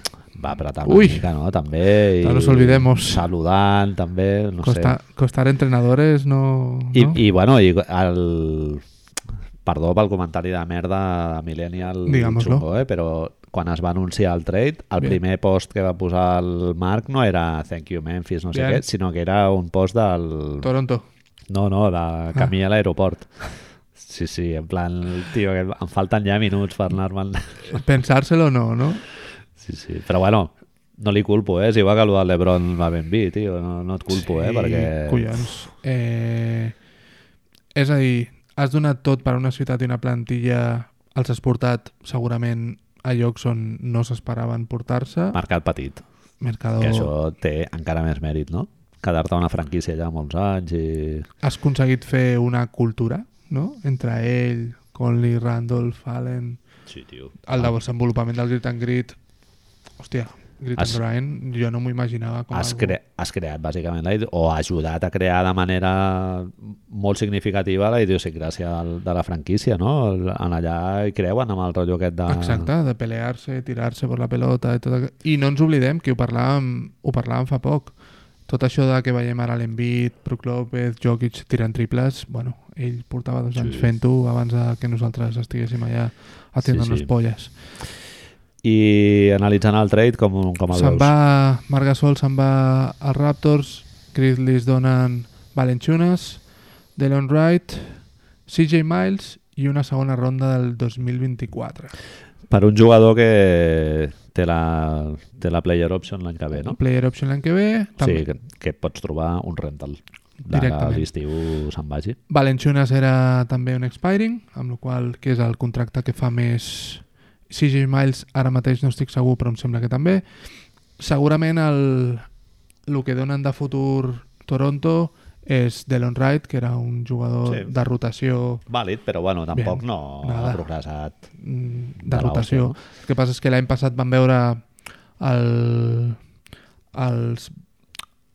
Speaker 1: va apretar
Speaker 2: Ui.
Speaker 1: una mica, no? També.
Speaker 2: No nos olvidemos.
Speaker 1: Saludant, també, no sé.
Speaker 2: costa, costar entrenadores no...
Speaker 1: I,
Speaker 2: no?
Speaker 1: i bueno, i el... perdó pel comentari de merda de Millennial
Speaker 2: Diguem-nos-lo.
Speaker 1: xungo, eh? però quan es va anunciar el trade, el
Speaker 2: Bien.
Speaker 1: primer post que va posar el Marc no era thank you Memphis, no sé
Speaker 2: Bien.
Speaker 1: què, sinó que era un post del...
Speaker 2: Toronto.
Speaker 1: No, no,
Speaker 2: Ah.
Speaker 1: de camí a l'aeroport. Sí, sí, en plan, tio, que em falten ja minuts per anar-me'n.
Speaker 2: Pensárselo no, no?
Speaker 1: Sí, sí, però bueno, no li culpo, eh? És igual que el de l'Ebron va ben vi, tio, no, no et culpo, eh?
Speaker 2: Sí,
Speaker 1: Perquè...
Speaker 2: Collons. Eh, és a dir, has donat tot per a una ciutat i una plantilla, els has portat segurament a llocs on no s'esperaven portar-se.
Speaker 1: Mercat petit.
Speaker 2: Mercado...
Speaker 1: Ah, Que això té encara més mèrit, no? Quedar-te a una franquícia allà molts anys i...
Speaker 2: Has aconseguit fer una cultura, no? Entre ell, Conley, Randolph, Allen...
Speaker 1: Sí, tio.
Speaker 2: El desenvolupament del Grit and Grit... Hòstia, Grit
Speaker 1: Has-
Speaker 2: and Grind, jo no m'ho imaginava com
Speaker 1: Has,
Speaker 2: algú-
Speaker 1: cre has creat, bàsicament, la ide- o ajudat a crear de manera molt significativa la idiosincràsia del, de la franquícia, no? El- En allà hi creuen amb el rotllo aquest de...
Speaker 2: Exacte, de pelear-se, tirar-se per la pelota i tot aqu... I no ens oblidem que ho parlàvem, ho parlàvem fa poc. Tot això de que veiem ara l'Envit, Brook López, Jokic tirant triples, bueno, ell portava dos
Speaker 1: Sí.
Speaker 2: anys fent-ho abans de que nosaltres estiguéssim allà atenent les
Speaker 1: sí.
Speaker 2: polles.
Speaker 1: I analitzant el trade, com, com el
Speaker 2: Se'n
Speaker 1: veus?
Speaker 2: va Marc Gasol, se'n va als Raptors, Grizzlies donen Valenciunas, Delon Wright, CJ Miles i una segona ronda del 2024.
Speaker 1: Per un jugador que té la, té la player option l'any que ve, no?
Speaker 2: Player option l'any que ve,
Speaker 1: Sí,
Speaker 2: també
Speaker 1: que, que pots trobar un rental. D'ara a
Speaker 2: Directament.
Speaker 1: l'estiu se'n vagi.
Speaker 2: Valenciunas era també un expiring, amb la qual cosa, que és el contracte que fa més CJ Miles, ara mateix no estic segur, però em sembla que també. Segurament el, el que donen de futur Toronto és Delon Wright, que era un jugador
Speaker 1: Sí.
Speaker 2: sí. de rotació
Speaker 1: Vàlid, però bueno, tampoc
Speaker 2: Bien,
Speaker 1: no ha
Speaker 2: nada.
Speaker 1: progressat.
Speaker 2: mm, de,
Speaker 1: De la
Speaker 2: rotació.
Speaker 1: hòstia,
Speaker 2: El que passa és que l'any passat van veure el, els,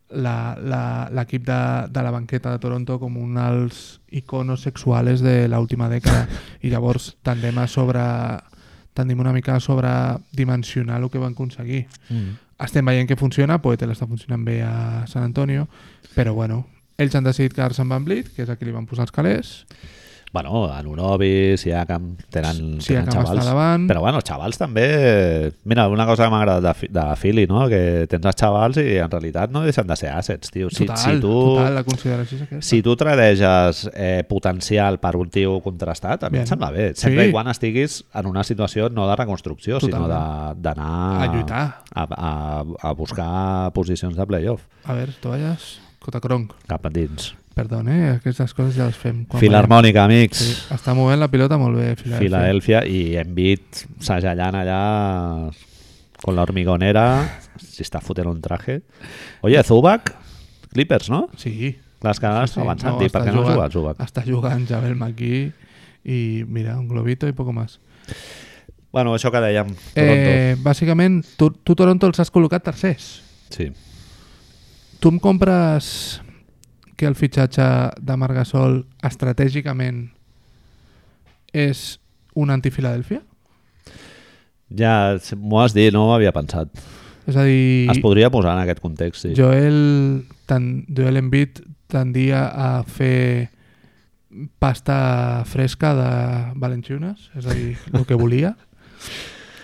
Speaker 2: la- la- l'equip de, de la banqueta de Toronto com un dels iconos sexuals de l'última dècada i llavors tendem a sobre tendem una mica a sobredimensionar el que van aconseguir.
Speaker 1: Mm.
Speaker 2: Estem veient que funciona, Poetel està funcionant bé a San Antonio, però bueno, ells han decidit quedar-se amb Van Vliet, que és a qui li van posar els calés.
Speaker 1: Bueno, Anunobi, Siakam, tenen,
Speaker 2: Sí,
Speaker 1: tenen
Speaker 2: acaba
Speaker 1: xavals.
Speaker 2: estar davant.
Speaker 1: Però bueno, els xavals també... Mira, una cosa que m'ha agradat de, Fi- de Philly, no? Que tens els xavals i en realitat no deixen de ser assets, tio. Si,
Speaker 2: Total,
Speaker 1: si tu...
Speaker 2: total, la consideració és aquesta.
Speaker 1: Si tu tradeges eh, potencial per un tio contrastat, a mi
Speaker 2: Bien.
Speaker 1: em sembla bé. Sempre
Speaker 2: Sí.
Speaker 1: i quan estiguis en una situació no de reconstrucció, Totalment. sinó
Speaker 2: Totalment.
Speaker 1: de- d'anar...
Speaker 2: A lluitar.
Speaker 1: A, a, a buscar posicions de playoff
Speaker 2: A veure, tovalles, Cotacronc.
Speaker 1: cap endins.
Speaker 2: Perdona, eh? aquestes coses ja les fem. Quan
Speaker 1: Filarmònica, amics.
Speaker 2: Sí, està movent la pilota molt bé, Filadelfia.
Speaker 1: Filadèlfia i Embiid segellant allà con la hormigonera si està fotent un traje Oye, Zubac, Clippers, no?
Speaker 2: Sí.
Speaker 1: Les canades sí, Ah, avançant, no, per
Speaker 2: està
Speaker 1: què no
Speaker 2: jugant-
Speaker 1: juga el Zubac?
Speaker 2: Està jugant Javel Maquí i mira, un globito i poco más.
Speaker 1: Bueno, això que dèiem, Toronto.
Speaker 2: Eh, bàsicament, tu, tu Toronto els has col·locat tercers.
Speaker 1: Sí.
Speaker 2: Tu em compres que el fitxatge de Marc Gasol estratègicament és un anti-Filadèlfia?
Speaker 1: Ja, si- m'ho has dit, no ho havia pensat.
Speaker 2: És a dir...
Speaker 1: Es podria posar en aquest context, sí.
Speaker 2: Joel, tan, Joel Embiid tendia a fer pasta fresca de Valenciunas, és a dir, el que
Speaker 1: *laughs*
Speaker 2: volia.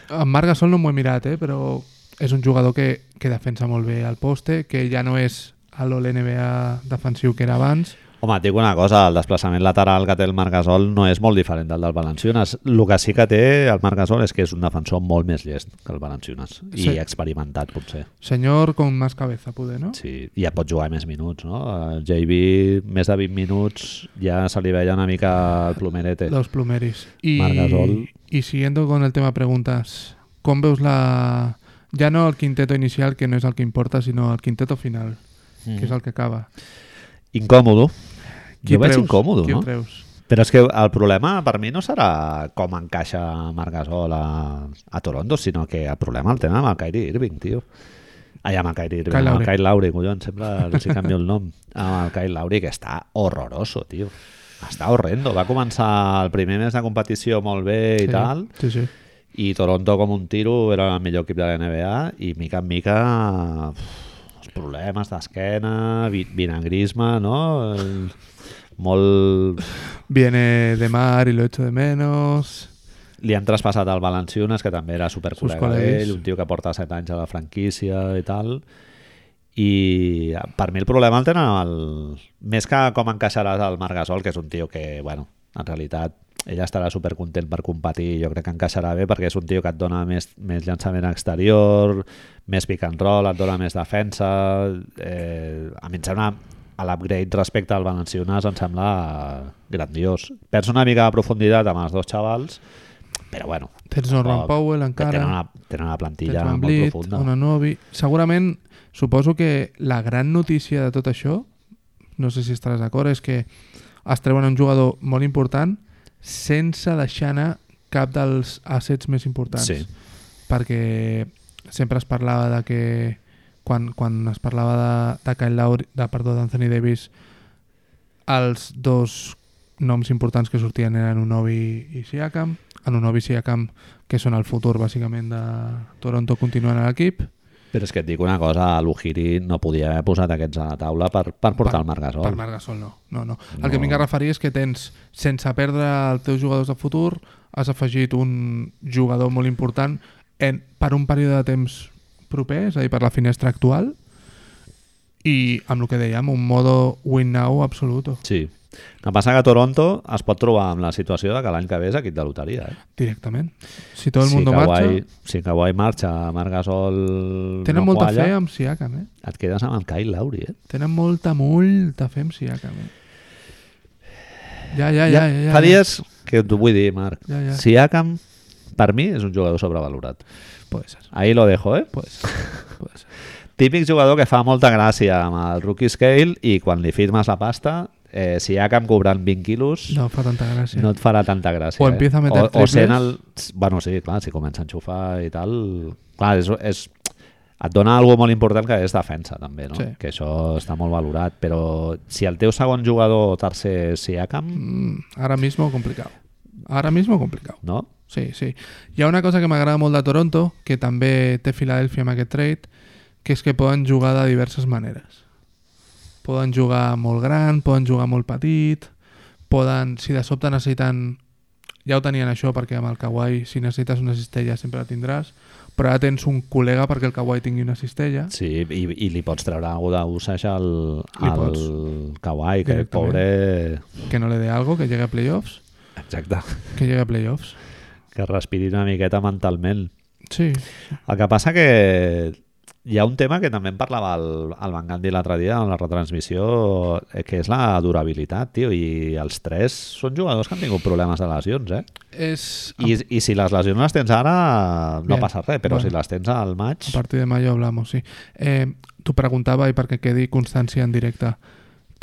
Speaker 2: En Marc Gasol no m'ho he mirat, eh, però és un jugador que, que defensa molt bé el poste, que ja no és a l'NBA defensiu que era abans.
Speaker 1: Home, et dic una cosa, el desplaçament lateral que té el Marc Gasol no és molt diferent del del Valenciunas. El que sí que té el Marc Gasol és que és un defensor molt més llest que el Valenciunas i
Speaker 2: Sí.
Speaker 1: experimentat, potser.
Speaker 2: Senyor con más cabeza, poder, no?
Speaker 1: Sí, i ja pot jugar més minuts, no? El JB, més de 20 minuts, ja se li veia una mica el plomerete.
Speaker 2: Los plumeris. Y,
Speaker 1: Marc Gasol.
Speaker 2: y siguiendo con el tema preguntas, ¿cómo veus la... Ya no el quinteto inicial, que no es el que importa, sino el quinteto final,
Speaker 1: Mm.
Speaker 2: que és el que acaba.
Speaker 1: Incòmodo.
Speaker 2: Qui
Speaker 1: jo veig
Speaker 2: treus?
Speaker 1: incòmodo,
Speaker 2: Qui
Speaker 1: no?
Speaker 2: treus?
Speaker 1: Però és que el problema per mi no serà com encaixa Marc Gasol a, a Toronto, sinó que el problema el tenen amb el Kyrie Irving, tio. Ai, amb el Kyrie Irving,
Speaker 2: Kyle
Speaker 1: amb el
Speaker 2: Lowry.
Speaker 1: Kyle Lowry, collons, sempre els hi canvio el nom. Amb el Kyle Lowry, que està horroroso, tio. està horrendo. Va començar el primer mes de competició molt bé i
Speaker 2: sí,
Speaker 1: tal,
Speaker 2: Sí, sí.
Speaker 1: i Toronto com un tiro era el millor equip de la NBA i mica en mica uf, els problemes d'esquena, vi- vinagrisme, no? El, molt...
Speaker 2: Viene de mar y lo echo de menos.
Speaker 1: Li han traspassat al Valenciunes, que també era supercol·lega
Speaker 2: col·legues.
Speaker 1: d'ell, un tio que porta 7 anys a la franquícia i tal, i per mi el problema el tenen el... més que com encaixaràs el Marc Gasol, que és un tio que, bueno, en realitat ell estarà supercontent per competir jo crec que encaixarà bé perquè és un tio que et dona més, més llançament exterior més pick and roll, et dona més defensa eh, a mi em sembla a l'upgrade respecte al Valenciunes em sembla grandiós perds una mica de profunditat amb els dos xavals però bueno
Speaker 2: Tens Norman
Speaker 1: tampoc-
Speaker 2: Powell encara.
Speaker 1: tenen una, tenen una plantilla
Speaker 2: Tens Van
Speaker 1: molt
Speaker 2: Vliet,
Speaker 1: profunda
Speaker 2: Una Novi... Segurament, suposo que la gran notícia de tot això, no sé si estaràs d'acord, és que es treuen un jugador molt important sense deixar anar cap dels assets més importants.
Speaker 1: Sí.
Speaker 2: Perquè sempre es parlava de que quan, quan es parlava de, de Kyle Lowry, de, perdó, d'Anthony Davis, els dos noms importants que sortien eren Unobi i Siakam. En Unobi i Siakam, que són el futur, bàsicament, de Toronto, continuen a l'equip.
Speaker 1: Però és que et dic una cosa, l'Ujiri no podia haver posat aquests a la taula per, per portar
Speaker 2: Per-
Speaker 1: el Marc Gasol.
Speaker 2: Per Marc Gasol, no. no, no. El que
Speaker 1: No.
Speaker 2: vinc a referir és que tens, sense perdre els teus jugadors de futur, has afegit un jugador molt important en, per un període de temps proper, és a dir, per la finestra actual, i amb el que dèiem, un modo win now absoluto,
Speaker 1: Sí. El que passa que Toronto es pot trobar amb la situació de que l'any que ve és equip de loteria. Eh?
Speaker 2: directament. Si tot el
Speaker 1: si
Speaker 2: món marxa...
Speaker 1: Kawhi, si Kawhi marxa, Marc Gasol
Speaker 2: Tenen
Speaker 1: no
Speaker 2: molta
Speaker 1: qualla,
Speaker 2: fe amb Siakam, eh?
Speaker 1: et quedes amb el Kyle Lowry. Eh?
Speaker 2: Tenen molta, molta fe amb Siakam,
Speaker 1: *sighs*
Speaker 2: eh? Ja, ja, ja. ja, ja,
Speaker 1: fa dies que t'ho vull dir, Marc.
Speaker 2: Ja, ja.
Speaker 1: Siakam, per mi, és un jugador sobrevalorat.
Speaker 2: Puede ser,
Speaker 1: Ahí lo dejo, eh?
Speaker 2: puede ser, puede ser.
Speaker 1: Típic jugador que fa molta gràcia amb el rookie scale i quan li firmes la pasta, eh, Siakam cobrant 20 quilos...
Speaker 2: No fa tanta gràcia.
Speaker 1: no et farà tanta gràcia.
Speaker 2: O empieza a meter
Speaker 1: eh? o, o
Speaker 2: triples.
Speaker 1: sent el... Bueno, sí, clar, si comença a enxufar i tal... Clar, és, és, et dona algo molt important que és defensa, també, no?
Speaker 2: Sí.
Speaker 1: Que això està molt valorat, però si el teu segon jugador o tercer és Siakam,
Speaker 2: Mm, Ahora mismo complicado. Ahora mismo complicado.
Speaker 1: no?
Speaker 2: Sí, sí. Hi ha una cosa que m'agrada molt de Toronto, que també té Filadèlfia amb aquest trade, que és que poden jugar de diverses maneres. Poden jugar molt gran, poden jugar molt petit, poden, si de sobte necessiten... Ja ho tenien això, perquè amb el Kawhi, si necessites una cistella, sempre la tindràs, però ara tens un col·lega perquè el Kawhi tingui una cistella.
Speaker 1: Sí, i, i li pots treure algú d'usage al,
Speaker 2: Li
Speaker 1: al Kawhi, que
Speaker 2: Directament.
Speaker 1: pobre...
Speaker 2: Que no le dé algo, que llegue a playoffs.
Speaker 1: Exacte.
Speaker 2: Que llegue a playoffs.
Speaker 1: Que respiri una miqueta mentalment.
Speaker 2: Sí,
Speaker 1: El que passa que hi ha un tema que també en parlava el, el Van Gandhi l'altre dia en la retransmissió, eh, que és la durabilitat, tio, i els tres són jugadors que han tingut problemes de lesions, eh?
Speaker 2: Ah. és...
Speaker 1: I, i si les lesions les tens ara no
Speaker 2: Bien.
Speaker 1: passa res, però
Speaker 2: Bueno.
Speaker 1: si les tens al maig...
Speaker 2: A partir de mayo hablamos, sí. Eh, T'ho preguntava i perquè quedi constància en directe.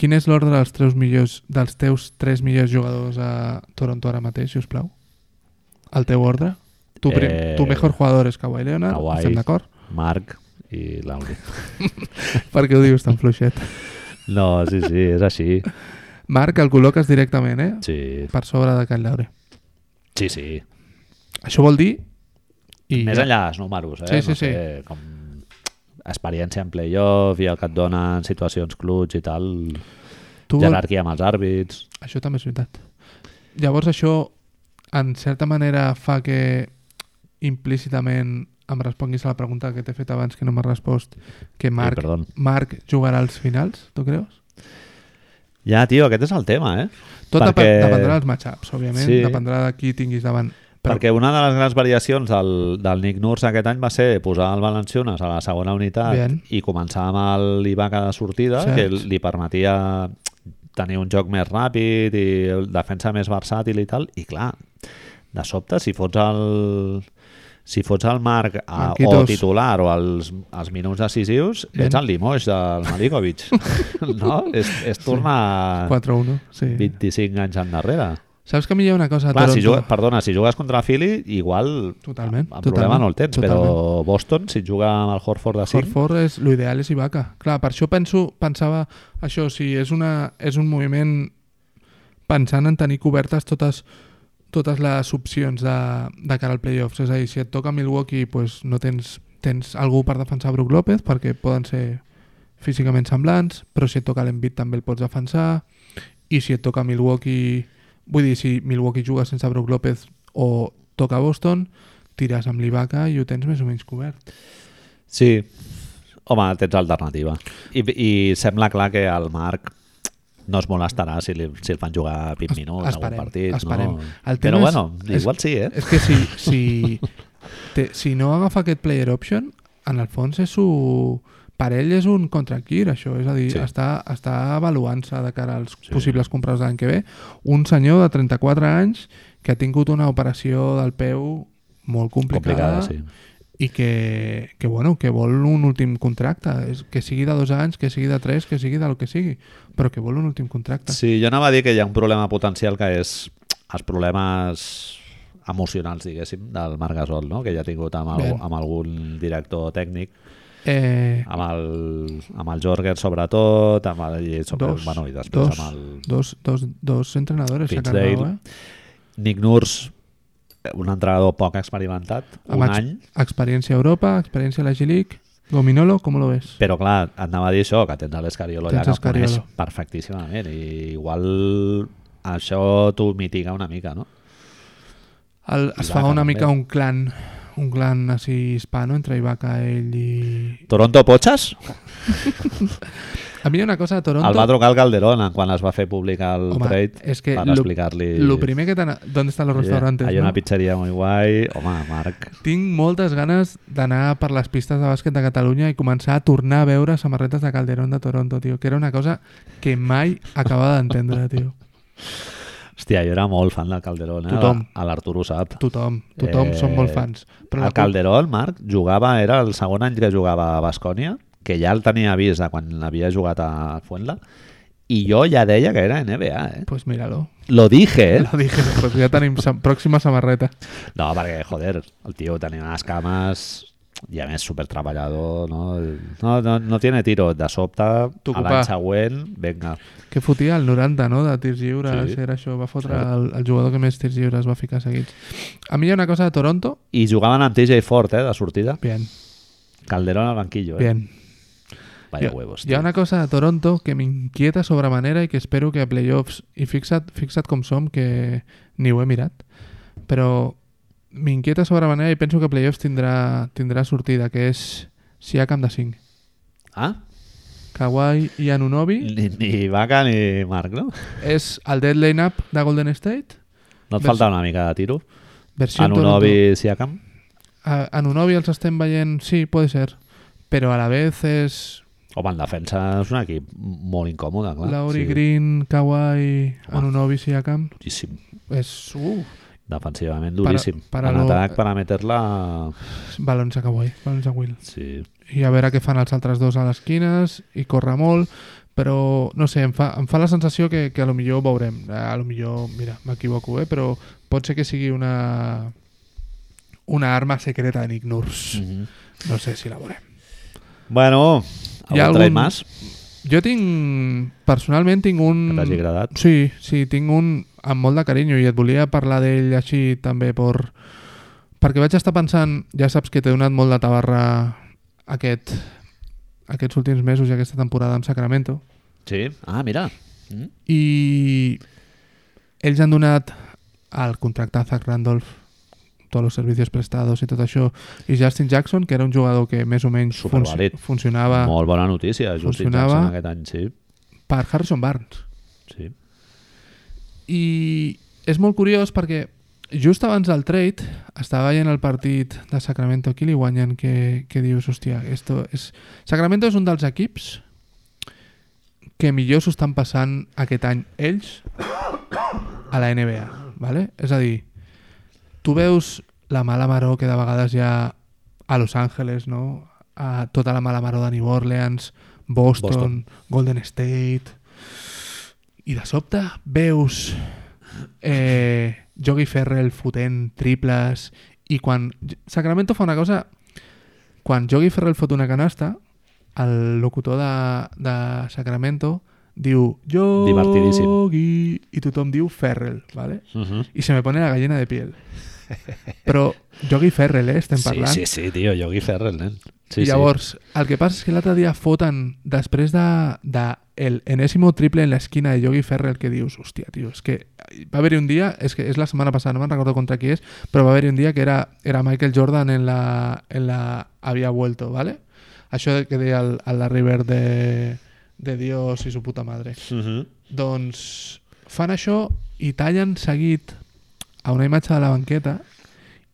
Speaker 2: Quin és l'ordre dels teus millors dels teus tres millors jugadors a Toronto ara mateix, si us plau? El teu ordre? Tu, prim,
Speaker 1: Eh,
Speaker 2: tu mejor jugador és Kawhi Leonard,
Speaker 1: Kawhi.
Speaker 2: estem d'acord? *laughs*
Speaker 1: Marc i Lauri.
Speaker 2: Per què ho dius tan fluixet?
Speaker 1: No, sí, sí, és així.
Speaker 2: Marc, el col·loques directament, eh?
Speaker 1: Sí,
Speaker 2: Per sobre de Kyle Lowry.
Speaker 1: sí, sí.
Speaker 2: Això vol dir... I
Speaker 1: Més
Speaker 2: ja.
Speaker 1: enllà dels números, eh?
Speaker 2: Sí, sí,
Speaker 1: no sé, com experiència en playoff i el que et dona en situacions clutch i tal,
Speaker 2: Tu vol-
Speaker 1: jerarquia amb els àrbits...
Speaker 2: Això també és veritat. Llavors això, en certa manera, fa que implícitament em responguis a la pregunta que t'he fet abans que no m'has respost, que Marc,
Speaker 1: Ai, perdó.
Speaker 2: Marc jugarà als finals, tu creus?
Speaker 1: Ja, tio, aquest és el tema, eh?
Speaker 2: Tot
Speaker 1: Perquè-
Speaker 2: perquè... dependrà dels matchups, òbviament,
Speaker 1: Sí.
Speaker 2: sí. dependrà de qui tinguis davant. Però
Speaker 1: Perquè una de les grans variacions del, del Nick Nurse aquest any va ser posar el Valenciunes a la segona unitat
Speaker 2: Bien.
Speaker 1: i començar amb l'Ibaca de sortida,
Speaker 2: Cert.
Speaker 1: que li permetia tenir un joc més ràpid i defensa més versàtil i tal, i clar, de sobte, si fots el, si fots el Marc a, o
Speaker 2: Marquitos.
Speaker 1: titular o els, els minuts decisius,
Speaker 2: Bien.
Speaker 1: ets el limoix del
Speaker 2: *laughs*
Speaker 1: Malikovic, no? És, és tornar
Speaker 2: 4-1, sí.
Speaker 1: 25 anys endarrere.
Speaker 2: Saps que a mi hi ha una cosa a
Speaker 1: Clar,
Speaker 2: Toronto?
Speaker 1: si jugues, perdona, si jugues contra Philly, igual el
Speaker 2: Totalment,
Speaker 1: problema
Speaker 2: totalment,
Speaker 1: no el tens, però Boston, si et juga amb el Horford de 5,
Speaker 2: Horford és l'ideal és Ibaka. Clar, per això penso, pensava això, si és, una, és un moviment pensant en tenir cobertes totes totes les opcions de, de cara al playoffs. És a dir, si et toca Milwaukee, pues, no tens, tens algú per defensar Brook López, perquè poden ser físicament semblants, però si et toca l'Envit també el pots defensar, i si et toca Milwaukee... Vull dir, si Milwaukee juga sense Brook López o toca Boston, tires amb l'Ibaka i ho tens més o menys cobert.
Speaker 1: Sí, home, tens alternativa. I, i sembla clar que el Marc no es molestarà si, li, si el fan jugar 20 minuts en algun partit.
Speaker 2: Esperem.
Speaker 1: No?
Speaker 2: El
Speaker 1: Però
Speaker 2: tema
Speaker 1: bueno,
Speaker 2: és,
Speaker 1: igual sí, eh?
Speaker 2: És que si, si, te, si no agafa aquest player option, en el fons és un... Per ell és un contractir, això. És a dir,
Speaker 1: Sí.
Speaker 2: sí. està, està avaluant-se de cara als sí. possibles compres de l'any que ve. Un senyor de 34 anys que ha tingut una operació del peu molt complicada,
Speaker 1: Complicada, sí.
Speaker 2: i que, que, bueno, que vol un últim contracte. És, que sigui de dos anys, que sigui de tres, que sigui del que sigui, però que vol un últim contracte.
Speaker 1: Sí, jo anava a dir que hi ha un problema potencial que és els problemes emocionals, diguéssim, del Marc Gasol, no? que ja ha tingut amb, algú,
Speaker 2: Ben.
Speaker 1: amb algun director tècnic,
Speaker 2: Eh,
Speaker 1: amb el, amb el Jorger sobretot, amb el, i, sobre,
Speaker 2: Dos,
Speaker 1: bueno, i després
Speaker 2: dos.
Speaker 1: amb el
Speaker 2: Dos, dos, dos entrenadors s'ha
Speaker 1: Fitzgerald,
Speaker 2: carregat, eh?
Speaker 1: Nick Nurse, un entrenador poc experimentat,
Speaker 2: Amb
Speaker 1: un
Speaker 2: ex-
Speaker 1: any,
Speaker 2: Experiència a Europa, experiència a la G-League. Gominolo, com lo ves?
Speaker 1: però clar, et anava a dir això, que tens a l'Escariolo ja
Speaker 2: Tens
Speaker 1: que el coneix
Speaker 2: Scariolo.
Speaker 1: perfectíssimament i igual això t'ho mitiga una mica, no?
Speaker 2: El, es
Speaker 1: Ibaka,
Speaker 2: fa una
Speaker 1: també.
Speaker 2: mica un clan un clan així hispano entre Ibaka, ell i...
Speaker 1: Toronto Potxes
Speaker 2: A mi hi ha una cosa de Toronto...
Speaker 1: el va trucar el Calderón quan es va fer publicar el
Speaker 2: Home,
Speaker 1: trade
Speaker 2: és que
Speaker 1: per
Speaker 2: lo-
Speaker 1: explicar-li...
Speaker 2: Lo primer que t'ana... D'on estan los
Speaker 1: Oye,
Speaker 2: restaurantes,
Speaker 1: Hay una
Speaker 2: no?
Speaker 1: pizzeria muy guai. Home, Marc,
Speaker 2: Tinc moltes ganes d'anar per les pistes de bàsquet de Catalunya i començar a tornar a veure samarretes de Calderón de Toronto, tio, que era una cosa que mai acabava d'entendre, tio.
Speaker 1: hòstia, jo era molt fan del Calderón, eh?
Speaker 2: Tothom.
Speaker 1: A l'Arturo ho sap.
Speaker 2: Tothom, tothom
Speaker 1: Eh,
Speaker 2: eh... són molt fans. Però la
Speaker 1: el Calderón, Marc, jugava, era el segon any que jugava a Bascònia, que ja el tenia vist de quan havia jugat a Fuenla, i jo ja deia que era NBA, eh?
Speaker 2: Pues míralo.
Speaker 1: Lo dije, eh?
Speaker 2: Lo dije, pues ya tenim sam- pròxima samarreta.
Speaker 1: No, perquè, joder, el tio tenia unes cames i a més supertreballador, no? No, no, no tiene tiro, de sobte, a
Speaker 2: T'ocupar.
Speaker 1: l'any següent, vinga.
Speaker 2: Que fotia el 90, no?, de tirs lliures.
Speaker 1: Sí.
Speaker 2: Era això, va fotre el, el jugador que més tirs lliures va ficar seguits. A mi hi ha una cosa de Toronto...
Speaker 1: I jugaven amb TJ Ford, eh, de sortida.
Speaker 2: Bien,
Speaker 1: Calderón al banquillo, eh?
Speaker 2: bien.
Speaker 1: Vaya
Speaker 2: Hi ha-
Speaker 1: huevos,
Speaker 2: Hi ha
Speaker 1: tio.
Speaker 2: una cosa de Toronto que m'inquieta sobremanera i que espero que a playoffs... I fixa't, fixa't com som, que ni ho he mirat. Però m'inquieta sobremanera i penso que a playoffs tindrà, tindrà sortida, que és Siakam de 5.
Speaker 1: Ah?
Speaker 2: Kawhi i Anunobi
Speaker 1: Ni, ni Vaca ni Marc, no?
Speaker 2: és el dead line-up de Golden State
Speaker 1: No et
Speaker 2: Ves-
Speaker 1: falta una mica de tiro?
Speaker 2: versió
Speaker 1: Anunobi, Siakam?
Speaker 2: Toronto. A, Anunobi els estem veient, sí, puede ser, però a la vez és
Speaker 1: Home, en defensa és un equip molt incòmode, clar.
Speaker 2: Lauri Green, Kawhi,
Speaker 1: Home.
Speaker 2: Anunobi, Siakam,
Speaker 1: Duríssim.
Speaker 2: és uh,
Speaker 1: Defensivament duríssim. Per,
Speaker 2: Per-
Speaker 1: per
Speaker 2: per
Speaker 1: en
Speaker 2: lo-
Speaker 1: atac, per a meter-la...
Speaker 2: balons a Kawhi, balons a Will.
Speaker 1: Sí.
Speaker 2: I a veure què fan els altres dos a les esquines, i corre molt, però no sé, em fa, em fa la sensació que, que a lo millor veurem, Eh, a lo millor, mira, m'equivoco, eh? però pot ser que sigui una una arma secreta de Nick Nurse.
Speaker 1: Mhm.
Speaker 2: No sé si la veurem.
Speaker 1: Bueno, algun
Speaker 2: Hi ha
Speaker 1: algun...
Speaker 2: algun-
Speaker 1: trade més
Speaker 2: Jo tinc... Personalment tinc un...
Speaker 1: que t'hagi agradat?
Speaker 2: Sí, sí, tinc un amb molt de carinyo i et volia parlar d'ell així també per... perquè vaig estar pensant, ja saps que t'he donat molt de tabarra aquest, aquests últims mesos i aquesta temporada amb Sacramento
Speaker 1: Sí. Ah, mira. Mm?
Speaker 2: i ells han donat al contracte a Zach Randolph tots els servicis prestados i tot això i Justin Jackson, que era un jugador que més o menys
Speaker 1: Supervàlid.
Speaker 2: funcionava
Speaker 1: Molt bona notícia. Justin
Speaker 2: Funcionava.
Speaker 1: Jackson aquest any, sí.
Speaker 2: per Harrison Barnes
Speaker 1: sí.
Speaker 2: I és molt curiós perquè just abans del trade estava veient el partit de Sacramento qui li guanyen que, que dius, hòstia, esto és... Sacramento és un dels equips que millor s'ho estan passant aquest any ells a la NBA, ¿vale? És a dir, tu veus la mala maró que de vegades hi ha a Los Angeles, no? A tota la mala maró de New Orleans, Boston,
Speaker 1: Boston.
Speaker 2: Boston. Golden State... I de sobte veus eh, Jogi Ferrell fotent triples i quan... Sacramento fa una cosa... Quan Jogi Ferrell fot una canasta, el locutor de, de Sacramento diu
Speaker 1: Divertidíssim.
Speaker 2: Yogi i tothom diu Ferrell, ¿vale?
Speaker 1: Uh -huh.
Speaker 2: i se me pone la gallina de piel. Però Yogi Ferrell, eh, estem
Speaker 1: Sí,
Speaker 2: parlant.
Speaker 1: sí, sí, tio, Yogi Ferrell, nen. Sí,
Speaker 2: I llavors, el que passa és que l'altre dia foten, després de, de el enésimo triple en l'esquina de Yogi Ferrell, que dius, hòstia, tio, és que va haver-hi un dia, és que és la setmana passada, no me'n recordo contra qui és, però va haver-hi un dia que era, era Michael Jordan en la, en la Había Vuelto, ¿vale? Això que deia el, el Larry Bird de, de Dios i su puta madre.
Speaker 1: sí. Uh -huh.
Speaker 2: Doncs fan això i tallen seguit a una imatge de la banqueta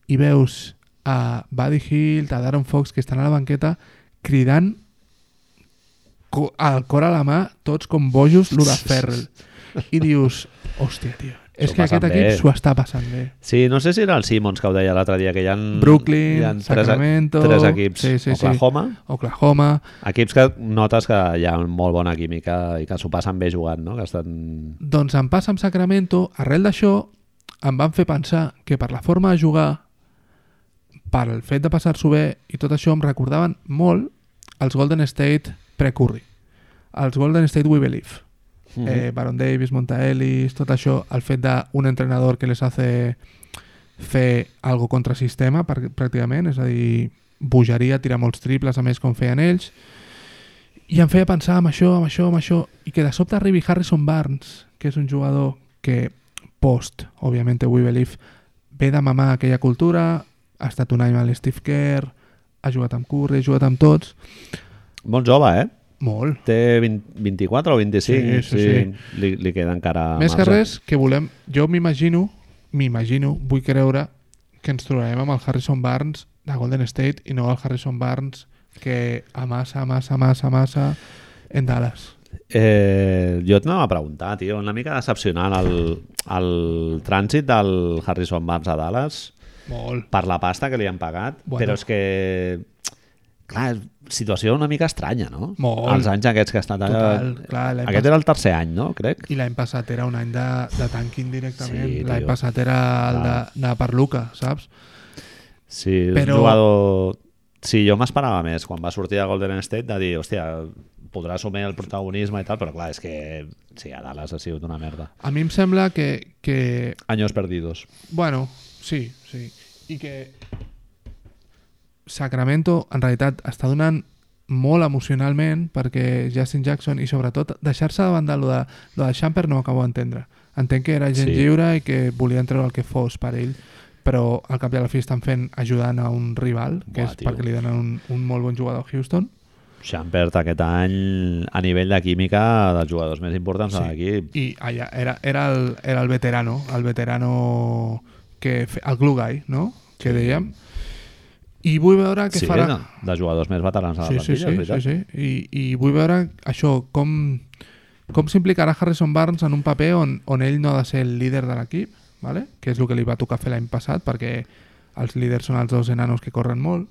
Speaker 2: i veus a Buddy Hill, a Darren Fox, que estan a la banqueta cridant co al cor a la mà, tots com bojos, l'Ura Ferrell. I dius, hòstia, tio, és
Speaker 1: S'ho
Speaker 2: que aquest
Speaker 1: passen
Speaker 2: equip
Speaker 1: bé.
Speaker 2: s'ho està passant bé.
Speaker 1: Sí, no sé si era el Simmons que ho deia l'altre dia, que hi ha...
Speaker 2: Brooklyn,
Speaker 1: Mm. hi ha
Speaker 2: Sacramento,
Speaker 1: Tres, tres equips.
Speaker 2: sí, sí, sí.
Speaker 1: Oklahoma,
Speaker 2: Oklahoma,
Speaker 1: equips que notes que hi ha molt bona química i que s'ho passen bé jugant, no? Que estan...
Speaker 2: Doncs em passa amb Sacramento, arrel d'això em van fer pensar que per la forma de jugar, per el fet de passar-s'ho bé i tot això em recordaven molt els Golden State pre-Curry, els Golden State We Believe,
Speaker 1: Mhm.
Speaker 2: eh, Baron Davis, Monta Ellis, tot això, el fet d'un entrenador que les hace fer algo contra sistema prà- pràcticament, és a dir, bogeria, tirar molts triples, a més com feien ells, i em feia pensar amb això, amb això, amb això, i que de sobte arribi Harrison Barnes, que és un jugador que post, òbviament, We Believe, ve de mamar aquella cultura, ha estat un any amb l'Steve Kerr, ha jugat amb Curry, ha jugat amb tots,
Speaker 1: Molt jove, eh?
Speaker 2: molt,
Speaker 1: Té 20, 24 o 25.
Speaker 2: Sí, sí, sí.
Speaker 1: Li, li queda encara
Speaker 2: Més que
Speaker 1: marge.
Speaker 2: res, que volem... Jo m'imagino, m'imagino, vull creure que ens trobarem amb el Harrison Barnes de Golden State i no el Harrison Barnes que amassa, amassa, amassa, amassa en Dallas.
Speaker 1: Eh, jo et anava a preguntar, tio, una mica decepcionant el, el trànsit del Harrison Barnes a Dallas
Speaker 2: Molt.
Speaker 1: per la pasta que li han pagat,
Speaker 2: Bueno.
Speaker 1: bueno. però és que... Clar, és situació una mica estranya, no?
Speaker 2: Molt.
Speaker 1: Els anys aquests que ha estat...
Speaker 2: Total, clar, l'any
Speaker 1: Ah, Aquest
Speaker 2: passat-
Speaker 1: era el tercer any, no? Crec.
Speaker 2: I l'any passat era un any de, de tanking directament.
Speaker 1: Sí,
Speaker 2: Sí, l'any
Speaker 1: tio. Ah.
Speaker 2: passat era el de, de Perluca, saps?
Speaker 1: Sí,
Speaker 2: Però-
Speaker 1: però... un jugador... Sí, jo m'esperava més quan va sortir de Golden State de dir, hòstia, podrà assumir el protagonisme i tal, però clar, és que sí, a Dallas ha sigut una merda.
Speaker 2: A mi em sembla que, que
Speaker 1: Años perdidos.
Speaker 2: Bueno, sí, sí. I que Sacramento, en realitat, està donant molt emocionalment perquè Justin Jackson i sobretot deixar-se de banda lo de, lo de Champer no ho acabo d'entendre. Entenc que era gent
Speaker 1: Sí.
Speaker 2: sí. lliure i que volien treure el que fos per ell, però al cap i a la fi estan fent ajudant a un rival, que
Speaker 1: Buah,
Speaker 2: és
Speaker 1: tio.
Speaker 2: perquè li donen un, un molt bon jugador a Houston.
Speaker 1: Champert aquest any a nivell de química dels jugadors més importants
Speaker 2: Sí.
Speaker 1: sí. de l'equip.
Speaker 2: I allà era, era, el, era el veterano, el veterano que fe, el glue guy, no? Que dèiem. I vull veure què
Speaker 1: Sí,
Speaker 2: farà.
Speaker 1: no? de jugadors més veterans de la
Speaker 2: sí, sí,
Speaker 1: plantilla, és
Speaker 2: sí, sí,
Speaker 1: veritat.
Speaker 2: sí. I, I vull veure això, com, com s'implicarà Harrison Barnes en un paper on, on ell no ha de ser el líder de l'equip, ¿vale? que és el que li va tocar fer l'any passat, perquè els líders són els dos enanos que corren molt.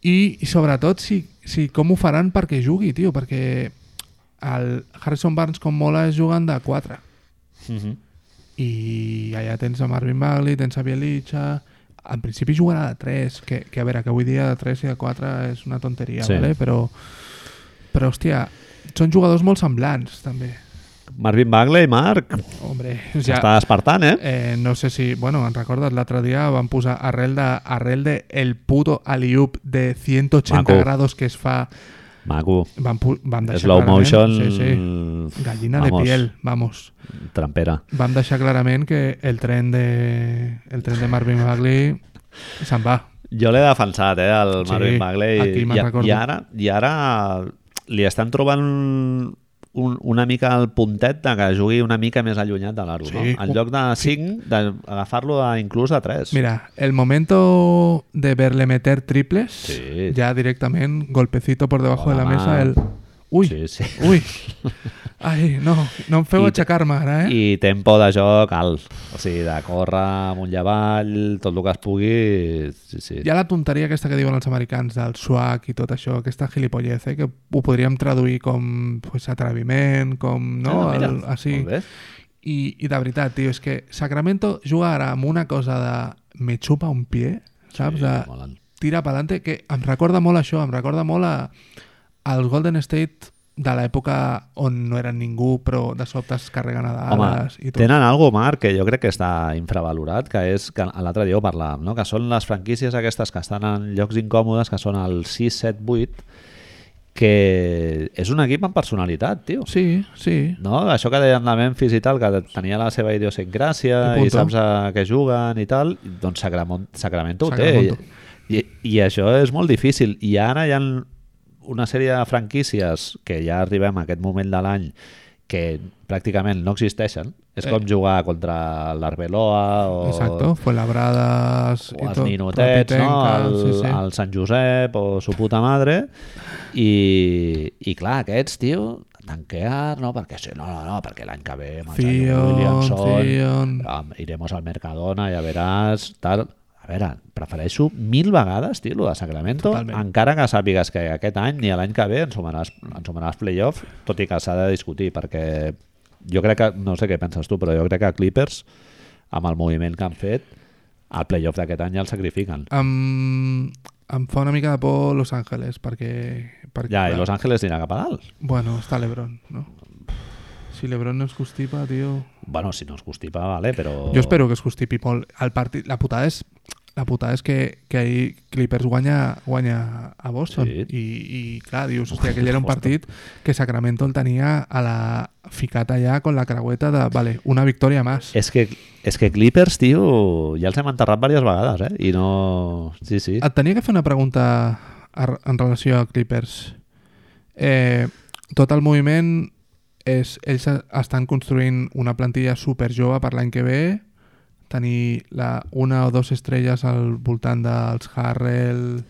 Speaker 2: I, i sobretot, si, si com ho faran perquè jugui, tio, perquè el Harrison Barnes com mola és jugant de 4
Speaker 1: sí. Uh -huh.
Speaker 2: i allà tens a Marvin Bagley, tens a Bielitsa en principi jugarà de 3 que, que a veure, que avui dia de 3 i de 4 és una tonteria,
Speaker 1: Sí.
Speaker 2: vale? però però hòstia, són jugadors molt semblants també,
Speaker 1: Marvin Bagley, Marc,
Speaker 2: hombre
Speaker 1: ja.
Speaker 2: ja,
Speaker 1: està despertant, eh?
Speaker 2: eh, no sé si, bueno, em recordes l'altre dia van posar arrel de, arrel de el puto aliup de 180
Speaker 1: Maco.
Speaker 2: grados que es fa
Speaker 1: Maco.
Speaker 2: van, pu- van deixar
Speaker 1: Slow
Speaker 2: clarament-
Speaker 1: motion...
Speaker 2: sí, sí. gallina
Speaker 1: Vamos.
Speaker 2: de piel, vamos
Speaker 1: Trampera.
Speaker 2: vam deixar clarament que el tren de, el tren de Marvin Bagley se'n va.
Speaker 1: Jo l'he defensat, eh, el
Speaker 2: Sí,
Speaker 1: Marvin Bagley.
Speaker 2: aquí me'n
Speaker 1: I,
Speaker 2: recordo.
Speaker 1: i, ara, I ara li estan trobant un, una mica el puntet de que jugui una mica més allunyat de l'aro.
Speaker 2: Sí.
Speaker 1: No? En lloc de 5, d'agafar-lo de- inclús a 3.
Speaker 2: Mira, el momento de verle meter triples,
Speaker 1: Sí.
Speaker 2: ya directament, golpecito por debajo
Speaker 1: Hola,
Speaker 2: de la
Speaker 1: mà.
Speaker 2: mesa, el... Ui,
Speaker 1: Sí, sí.
Speaker 2: ui, ai, no, no em feu
Speaker 1: I te-
Speaker 2: aixecar-me ara, eh?
Speaker 1: I tempo de joc alt. O sigui, de córrer amunt i avall, tot el que es pugui... Sí, sí.
Speaker 2: Hi ha la tonteria aquesta que diuen els americans del swag i tot això, aquesta gilipollez, eh? que ho podríem traduir com pues, atreviment, com... No?
Speaker 1: Ah, mira,
Speaker 2: el, així.
Speaker 1: molt bé.
Speaker 2: I, I de veritat, tio, és que Sacramento juga ara amb una cosa de me xupa un pie, saps? Ah.
Speaker 1: Sí,
Speaker 2: de
Speaker 1: molen.
Speaker 2: tira pa'lante, que em recorda molt això, em recorda molt a, als Golden State de l'època on no eren ningú, però de sobte es carreguen a
Speaker 1: Home,
Speaker 2: dades i tot.
Speaker 1: tenen algo, Marc, que jo crec que està infravalorat, que és que l'altre dia ho parlàvem, no? que són les franquícies aquestes que estan en llocs incòmodes, que són el 6, 7, 8, que és un equip amb personalitat, tio.
Speaker 2: Sí, sí.
Speaker 1: No? Això que deien de Memphis i tal, que tenia la seva idiosincràsia
Speaker 2: I
Speaker 1: i
Speaker 2: punto.
Speaker 1: saps a què juguen i tal, doncs Sacramon- Sacramento, Sacramento ho
Speaker 2: Sacramento.
Speaker 1: té. I, I això és molt difícil. I ara hi ha una sèrie de franquícies que ja arribem a aquest moment de l'any que pràcticament no existeixen. És
Speaker 2: Eh.
Speaker 1: com jugar contra l'Arbeloa o,
Speaker 2: Exacto, fue labradas
Speaker 1: o
Speaker 2: i
Speaker 1: els
Speaker 2: tot.
Speaker 1: ninotets, no?
Speaker 2: Rapitenca,
Speaker 1: el,
Speaker 2: sí, sí.
Speaker 1: el Sant Josep o su puta madre i, i clar, aquests, tio t'han quedat, no? Perquè sí, no, no, no, perquè l'any que ve amb el Zion
Speaker 2: Zion,
Speaker 1: Williamson
Speaker 2: Zion.
Speaker 1: am- iremos al Mercadona, ja veràs, tal... A veure, prefereixo mil vegades, tio, lo de Sacramento,
Speaker 2: Totalment.
Speaker 1: encara que sàpigues que aquest any ni l'any que ve ens sumaràs, ens sumaràs playoff, tot i que s'ha de discutir, perquè jo crec que, no sé què penses tu, però jo crec que Clippers, amb el moviment que han fet, el playoff d'aquest any ja el sacrifiquen.
Speaker 2: Em, em fa una mica de por Los Ángeles, perquè... perquè
Speaker 1: Ja, i Los Angeles anirà cap a dalt.
Speaker 2: Bueno, està Lebron, no? Si Lebron no es constipa, tio...
Speaker 1: Bueno, si no es constipa, vale, però...
Speaker 2: Jo espero que es constipi molt. El partit, la putada és la putada és que, que ahir Clippers guanya, guanya a Boston
Speaker 1: Sí.
Speaker 2: I, i clar, dius, hòstia, aquell era un
Speaker 1: Boston.
Speaker 2: partit que Sacramento el tenia a la ficat allà con la creueta de, vale, una victòria més
Speaker 1: És que, és que Clippers, tio, ja els hem enterrat diverses vegades, eh? I no... Sí, sí.
Speaker 2: et tenia que fer una pregunta a- en relació a Clippers eh, tot el moviment és, ells estan construint una plantilla super jove per l'any que ve tenir la, una o dues estrelles al voltant dels Harrell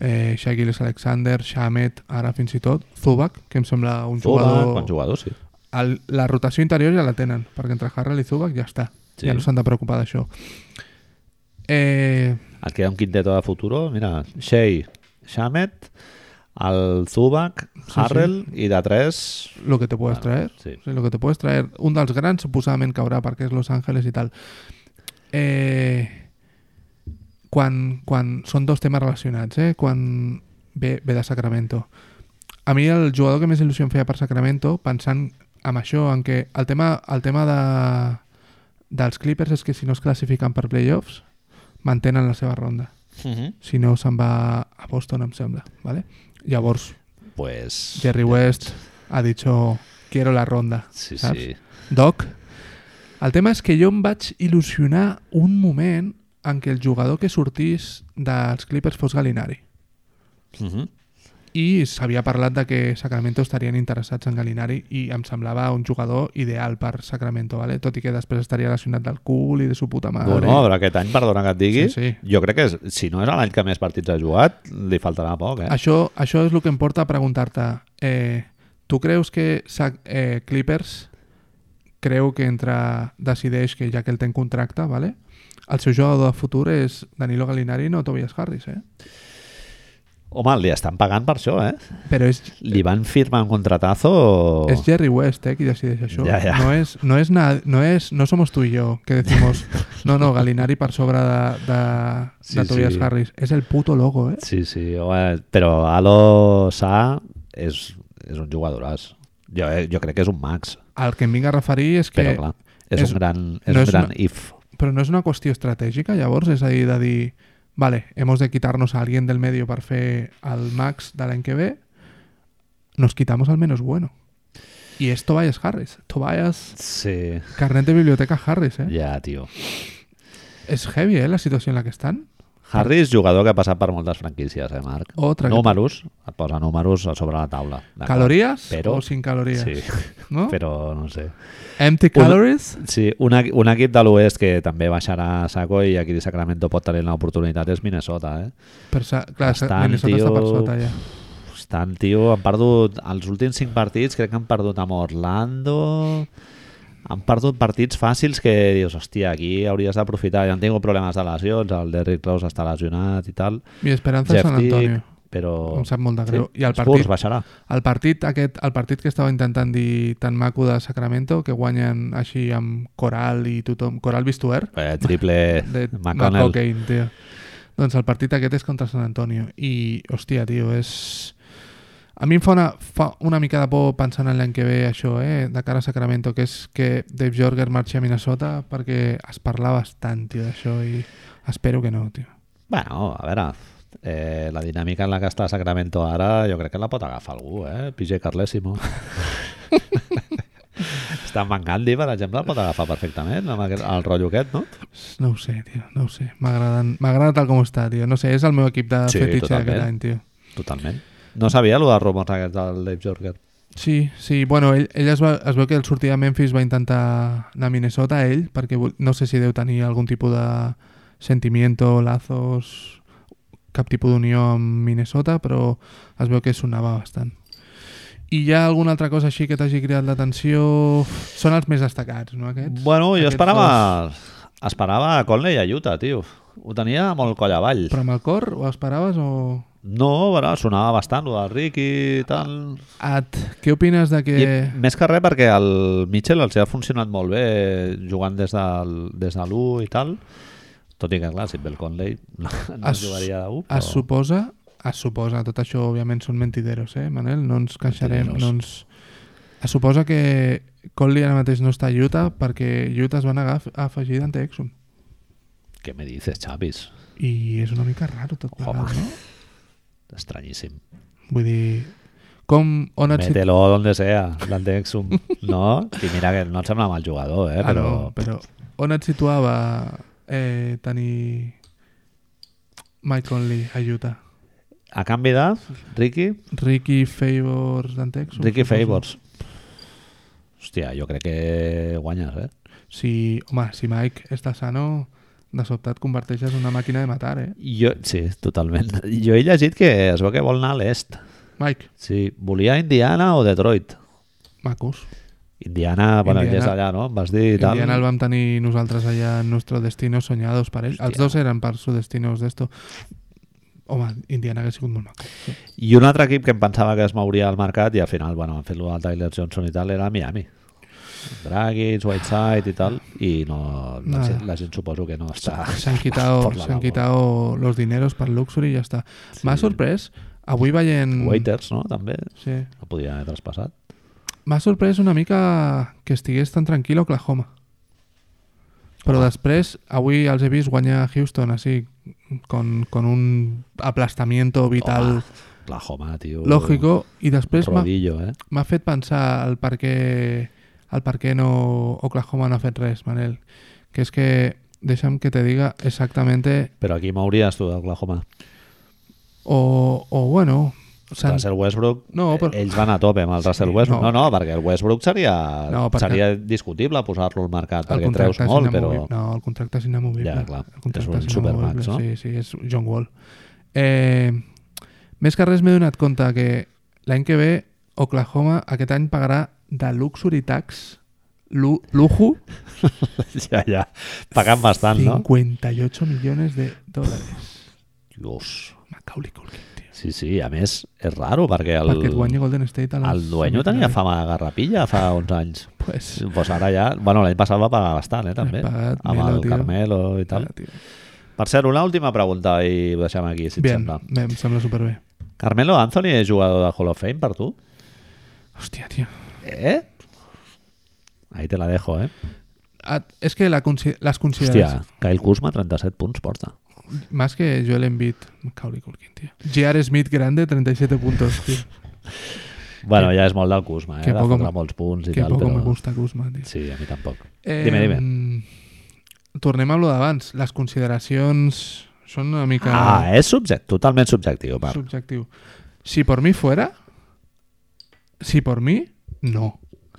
Speaker 2: eh, Shaquille Alexander Shamet, ara fins i tot Zubac, que em sembla un
Speaker 1: Jugador...
Speaker 2: jugador,
Speaker 1: Bon jugador, sí.
Speaker 2: el, la rotació interior ja la tenen, perquè entre Harrell i Zubac ja està.
Speaker 1: Sí.
Speaker 2: Sí. Ja no s'han de preocupar d'això. Eh,
Speaker 1: Et queda un quinteto de futuro, mira, Shea, Shamet, el Zubac,
Speaker 2: sí.
Speaker 1: Harrell sí. i de tres...
Speaker 2: lo que te puedes
Speaker 1: Bueno,
Speaker 2: traer.
Speaker 1: sí.
Speaker 2: O sigui, lo que te puedes traer. Un dels grans suposadament caurà perquè és Los Ángeles i tal. Eh, quan, quan són dos temes relacionats, eh? quan ve, ve de Sacramento. A mi el jugador que més il·lusió em feia per Sacramento, pensant en això, en què el tema, el tema de, dels Clippers és que si no es classifiquen per playoffs, mantenen la seva ronda.
Speaker 1: Uh -huh.
Speaker 2: Si no, se'n va a Boston, em sembla. ¿vale? Llavors,
Speaker 1: Pues...
Speaker 2: Jerry West ha dicho quiero la ronda.
Speaker 1: Sí,
Speaker 2: saps?
Speaker 1: sí.
Speaker 2: Doc. El tema és que jo em vaig il·lusionar un moment en què el jugador que sortís dels Clippers fos Galinari.
Speaker 1: Uh -huh.
Speaker 2: I s'havia parlat de que Sacramento estarien interessats en Galinari i em semblava un jugador ideal per Sacramento, vale? tot i que després estaria lesionat del cul i de su puta madre.
Speaker 1: Bueno, però aquest any, perdona que et digui,
Speaker 2: Sí, sí.
Speaker 1: jo crec que és, si no és l'any que més partits ha jugat, li faltarà poc, eh?
Speaker 2: Això, això és el que em porta a preguntar-te. Eh, tu creus que Sac, eh, Clippers creu que entre decideix que ja que el té en contracte, vale? el seu jugador de futur és Danilo Gallinari no Tobias Harris, eh?
Speaker 1: Home, li estan pagant per això, eh?
Speaker 2: Però és,
Speaker 1: Li van firmar un contratazo...
Speaker 2: és Jerry West eh, qui decideix això.
Speaker 1: Ja, ja.
Speaker 2: No, és, no, és na, no, és, no somos tu i jo que
Speaker 1: *laughs*
Speaker 2: decimos no, no, Gallinari per sobre de, de,
Speaker 1: Sí,
Speaker 2: de Tobias
Speaker 1: sí.
Speaker 2: Harris. És el puto logo, eh?
Speaker 1: Sí, sí, home, però Alo Sa és, és un jugadoràs. Jo, eh, jo crec que és un max,
Speaker 2: El que em vinc a referir és que...
Speaker 1: però clar, és,
Speaker 2: és-
Speaker 1: un gran, és
Speaker 2: no
Speaker 1: un
Speaker 2: és
Speaker 1: gran
Speaker 2: una-
Speaker 1: if.
Speaker 2: Pero no es una cuestión estratégica, llavors, es ahí de dir, vale, hemos de quitarnos a alguien del medio para fer al max de l'any que ve, nos quitamos al menos bueno. Y es Tobias Harris. Tobias,
Speaker 1: Sí,
Speaker 2: carnet de biblioteca Harris, eh?
Speaker 1: ja, tio.
Speaker 2: Es heavy, eh, la situación en la que están.
Speaker 1: Harris, jugador que ha passat per moltes franquícies, eh, Marc?
Speaker 2: Otra que-
Speaker 1: Números, et posa números a sobre la taula. d'acord?
Speaker 2: ¿Calorías
Speaker 1: Pero-
Speaker 2: o sin calorías?
Speaker 1: Sí,
Speaker 2: ¿No?
Speaker 1: però no sé.
Speaker 2: Empty
Speaker 1: Una-
Speaker 2: calories?
Speaker 1: Sí, un, equ- un equip de l'oest que també baixarà a saco i aquí de Sacramento pot tenir l'oportunitat és Minnesota, eh?
Speaker 2: Per sa- clar, sa-
Speaker 1: Bastant,
Speaker 2: Minnesota està per
Speaker 1: tio.
Speaker 2: sota, ja.
Speaker 1: Estan, tio, han perdut els últims 5 partits, crec que han perdut amb Orlando, han perdut partits fàcils que dius, hòstia, aquí hauries d'aprofitar, ja han tingut problemes de lesions, el Derrick Rose està lesionat i tal,
Speaker 2: Mi esperanza es
Speaker 1: Jeff
Speaker 2: San Antonio.
Speaker 1: Tick, però...
Speaker 2: Em sap molt de greu. I el
Speaker 1: els Spurs
Speaker 2: partit-
Speaker 1: baixarà.
Speaker 2: El partit, aquest, el partit que estava intentant dir tan maco de Sacramento, que guanyen així amb Coral i tothom, Coral Bistuer,
Speaker 1: Eh, triple
Speaker 2: *laughs* de
Speaker 1: McConnell.
Speaker 2: McCocaine, tio. Doncs el partit aquest és contra San Antonio. I, hòstia, tio, és... A mi em fa una, fa una mica de por pensant en l'any que ve això, eh, de cara a Sacramento, que és que Dave Jorger marxi a Minnesota perquè es parla bastant, tio, d'això i espero que no, tio.
Speaker 1: Bueno, a veure, eh, la dinàmica en la que està Sacramento ara jo crec que la pot agafar algú, eh? PJ
Speaker 2: *laughs*
Speaker 1: Carlesimo. Stan Van Gundy, per exemple, el pot agafar perfectament amb aquest, el rotllo aquest, no?
Speaker 2: No ho sé, tio, no ho sé. M'agraden- M'agrada tal com està, tio. No sé, és el meu equip de
Speaker 1: Sí,
Speaker 2: sí, fetitxe d'aquest
Speaker 1: totalment.
Speaker 2: any, tio.
Speaker 1: Totalment. No sabia el dels rumors aquests del Dave Jorger.
Speaker 2: Sí, sí, bueno, ell, ell es, va, es veu que el sortir de Memphis va intentar anar a Minnesota, ell, perquè vol- no sé si deu tenir algun tipus de sentimiento, lazos, cap tipus d'unió amb Minnesota, però es veu que sonava bastant. I hi ha alguna altra cosa així que t'hagi cridat l'atenció? Són els més destacats, no, aquests?
Speaker 1: Bueno, jo
Speaker 2: Aquests
Speaker 1: esperava... Esperava a Conley i a Utah, tio. Ho tenia molt coll avall.
Speaker 2: Però amb el cor ho esperaves o...?
Speaker 1: No, però sonava bastant, el del Ricky i tal.
Speaker 2: At, què opines de que...
Speaker 1: I més que res perquè el Mitchell els ha funcionat molt bé jugant des, del, des de l'1 i tal tot i que clar, si et ve el Conley *laughs* no, no
Speaker 2: Es-
Speaker 1: jugaria de 1
Speaker 2: Es
Speaker 1: però...
Speaker 2: suposa, es suposa, tot això òbviament són mentideros, eh, Manel? No ens queixarem,
Speaker 1: Mentideros.
Speaker 2: no ens... Es suposa que Conley ara mateix no està a Utah perquè Utah es va negar a f- a afegir Dante Exum.
Speaker 1: què me dices, Chavis?
Speaker 2: I és una mica raro tot plegat, no?
Speaker 1: estranyíssim
Speaker 2: Vull dir, com, on et situa...
Speaker 1: mételo donde sea l'Antexum, *laughs* no? i mira que no et sembla mal jugador eh?
Speaker 2: Ah,
Speaker 1: però
Speaker 2: no, però on et situava eh, tenir Mike Conley a Utah?
Speaker 1: a canvi de Ricky
Speaker 2: Ricky Favors, Dante Exum?
Speaker 1: Ricky
Speaker 2: suposo?
Speaker 1: Favors hòstia, jo crec que guanyes eh?
Speaker 2: Si, home, si Mike està sano, de sobte et converteixes en una màquina de matar, eh?
Speaker 1: jo, sí, totalment jo he llegit que es veu que vol anar a l'est
Speaker 2: Mike,
Speaker 1: sí, volia Indiana o Detroit
Speaker 2: macos.
Speaker 1: Indiana, bueno,
Speaker 2: Indiana.
Speaker 1: Indiana. és allà, no? Em vas dir i tal.
Speaker 2: Indiana el vam tenir nosaltres allà en Nostro Destino Soñados per ell. Els
Speaker 1: Hòstia.
Speaker 2: dos eren per su Destinos d'esto. Home, Indiana hagués sigut molt maco.
Speaker 1: I un altre equip que em pensava que es mouria al mercat i al final, bueno, han fet-lo al Tyler Johnson i tal, era Miami. Dragic, Whiteside i tal, i no, la,
Speaker 2: Nada.
Speaker 1: gent, la gent suposo que no està...
Speaker 2: S'han quitado,
Speaker 1: Por Ah, la
Speaker 2: se han
Speaker 1: labor.
Speaker 2: quitado los dineros per Luxury i ja està. M'ha sorprès, avui veient...
Speaker 1: Waiters, no? També
Speaker 2: Sí.
Speaker 1: no podia haver traspassat.
Speaker 2: M'ha sorprès una mica que estigués tan tranquil a Oklahoma. Però després, avui els he vist guanyar a Houston, així, con, con un aplastamiento vital
Speaker 1: La Homa, tio...
Speaker 2: lógico, i després m'ha
Speaker 1: Rodillo, eh?
Speaker 2: m'ha fet pensar el per què el per què no Oklahoma no ha fet res, Manel. Que és que, deixa'm que te diga exactament
Speaker 1: Però aquí mouries tu d'Oklahoma.
Speaker 2: o, o bueno, s'han-
Speaker 1: Russell Westbrook,
Speaker 2: No, però-
Speaker 1: ells van a tope amb el Russell
Speaker 2: Sí,
Speaker 1: Westbrook.
Speaker 2: no.
Speaker 1: No, no, perquè el Westbrook seria,
Speaker 2: No, perquè-
Speaker 1: seria discutible posar-lo al mercat,
Speaker 2: el
Speaker 1: perquè treus
Speaker 2: contracte és
Speaker 1: molt, però...
Speaker 2: inamovible. No, el contracte és inamovible.
Speaker 1: Ja, clar,
Speaker 2: El contracte
Speaker 1: és un
Speaker 2: inamovible,
Speaker 1: supermax, no?
Speaker 2: Sí, sí, és John Wall. Eh, més que res m'he donat compte que l'any que ve Oklahoma aquest any pagarà de luxury tax lu, lujo
Speaker 1: *laughs* Ja, ja. Pagant bastant, no?
Speaker 2: 58 milions de dòlars.
Speaker 1: Dios.
Speaker 2: Macaulay Culkin, tio.
Speaker 1: Sí, sí, a més, és raro perquè el,
Speaker 2: Perquè et guanyi Golden State a les...
Speaker 1: el duenyo tenia fama de garrapilla fa 11 anys.
Speaker 2: Pues,
Speaker 1: Pues ara ja... Bueno, l'any passat va pagar bastant, eh, també.
Speaker 2: Ha pagat
Speaker 1: amb
Speaker 2: Melo,
Speaker 1: el
Speaker 2: tio.
Speaker 1: Carmelo i tal.
Speaker 2: Ara, tio.
Speaker 1: Per cert, una última pregunta i ho deixem aquí, si et
Speaker 2: Bien,
Speaker 1: sembla.
Speaker 2: bé, em sembla superbé.
Speaker 1: Carmelo Anthony és jugador de Hall of Fame per tu?
Speaker 2: Hòstia, tio.
Speaker 1: Eh? Ahí te la dejo, eh?
Speaker 2: Ah, és que la consi les consideres...
Speaker 1: Hòstia, Kyle Kuzma 37 punts porta.
Speaker 2: Más que Joel Embiid, Macaulay Culkin, tío. J.R. Smith grande, 37 puntos,
Speaker 1: *laughs*
Speaker 2: tío.
Speaker 1: Bueno, ja és molt del Kuzma, eh?
Speaker 2: que
Speaker 1: De
Speaker 2: poco
Speaker 1: fotre
Speaker 2: me-
Speaker 1: molts punts i
Speaker 2: Que
Speaker 1: tal,
Speaker 2: poco
Speaker 1: però...
Speaker 2: me gusta Kuzma, tío.
Speaker 1: Sí, a mi tampoc.
Speaker 2: Eh,
Speaker 1: Dime, dime.
Speaker 2: Tornem a lo d'abans. Les consideracions són una mica
Speaker 1: Ah, és subject, totalment subjectiu, Marc.
Speaker 2: subjectiu. Si por mi fuera, si por mi, no.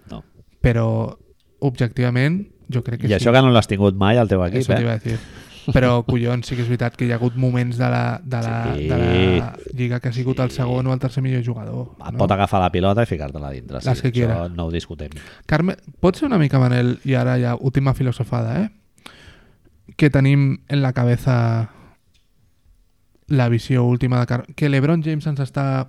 Speaker 1: No.
Speaker 2: Però, objectivament, jo crec que
Speaker 1: I
Speaker 2: sí.
Speaker 1: això que no l'has tingut mai al teu equip,
Speaker 2: Això t'hi
Speaker 1: eh?
Speaker 2: va a dir. Però, collons, sí que és veritat que hi ha hagut moments de la, de la,
Speaker 1: Sí.
Speaker 2: de la lliga que ha sigut el
Speaker 1: Sí.
Speaker 2: segon o el tercer millor jugador.
Speaker 1: Et pot agafar la pilota i ficar-te-la dintre. Sí,
Speaker 2: Les que quiera.
Speaker 1: això no ho discutim.
Speaker 2: Carme, pot ser una mica, Manel, i ara ja última filosofada, eh? Que tenim en la cabeza la visió última de Car que l'Ebron James ens està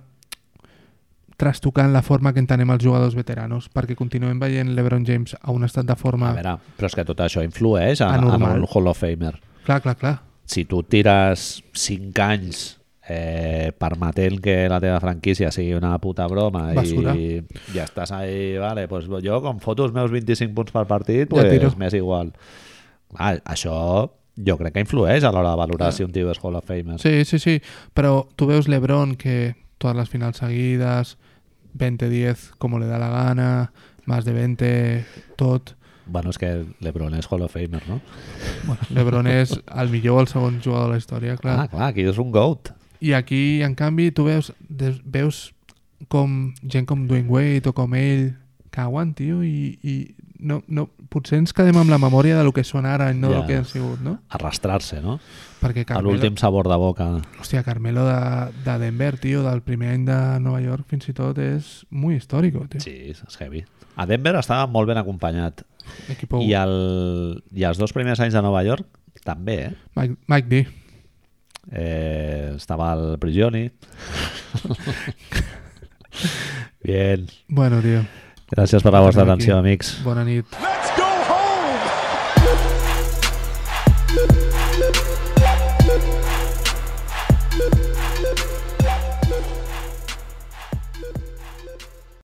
Speaker 2: trastocant la forma que entenem els jugadors veteranos perquè continuem veient l'Ebron James a un estat de
Speaker 1: A
Speaker 2: forma...
Speaker 1: veure, però és que tot això influeix en, en
Speaker 2: Anormal.
Speaker 1: un Hall of Famer.
Speaker 2: Clar, clar, clar.
Speaker 1: Si tu tires 5 anys eh, permetent que la teva franquícia sigui una puta broma
Speaker 2: Basura.
Speaker 1: i ja estàs ahí, vale, pues jo com foto els meus 25 punts per partit,
Speaker 2: Ja
Speaker 1: pues,
Speaker 2: tiro.
Speaker 1: m'és igual. Clar, això jo crec que influeix a l'hora de valorar si un tio és Hall of Famer.
Speaker 2: Sí, sí, sí. Pero tú ves LeBron que todas las finales seguidas, 20-10 como le da la gana, más de 20, tot.
Speaker 1: Bueno, és que LeBron és Hall of Famer, no?
Speaker 2: Bueno, LeBron és el millor, el segon jugador de la història, clar.
Speaker 1: Ah, clar, aquí és un GOAT.
Speaker 2: I aquí, en canvi, tu veus, des- veus com gent com Dwayne Wade o com ell cauen, tio, i, i no, no, potser ens quedem amb la memòria del que són ara i no
Speaker 1: Ja.
Speaker 2: del que han sigut, no?
Speaker 1: Arrastrar-se, no?
Speaker 2: Perquè
Speaker 1: A
Speaker 2: Carmelo,
Speaker 1: l'últim sabor de boca.
Speaker 2: hòstia, Carmelo de, de Denver, tio, del primer any de Nova York, fins i tot, és muy històrico, tio.
Speaker 1: Sí, és heavy. A Denver estava molt ben acompanyat.
Speaker 2: Equipo
Speaker 1: I, el, I els dos primers anys de Nova York també, eh?
Speaker 2: Mike, Mike D.
Speaker 1: Eh, estava el Prigioni. Bien.
Speaker 2: Bueno, tio,
Speaker 1: Gràcies per la vostra
Speaker 2: Aquí.
Speaker 1: atenció, amics.
Speaker 2: bona nit.
Speaker 3: Let's go home!
Speaker 4: Thank you.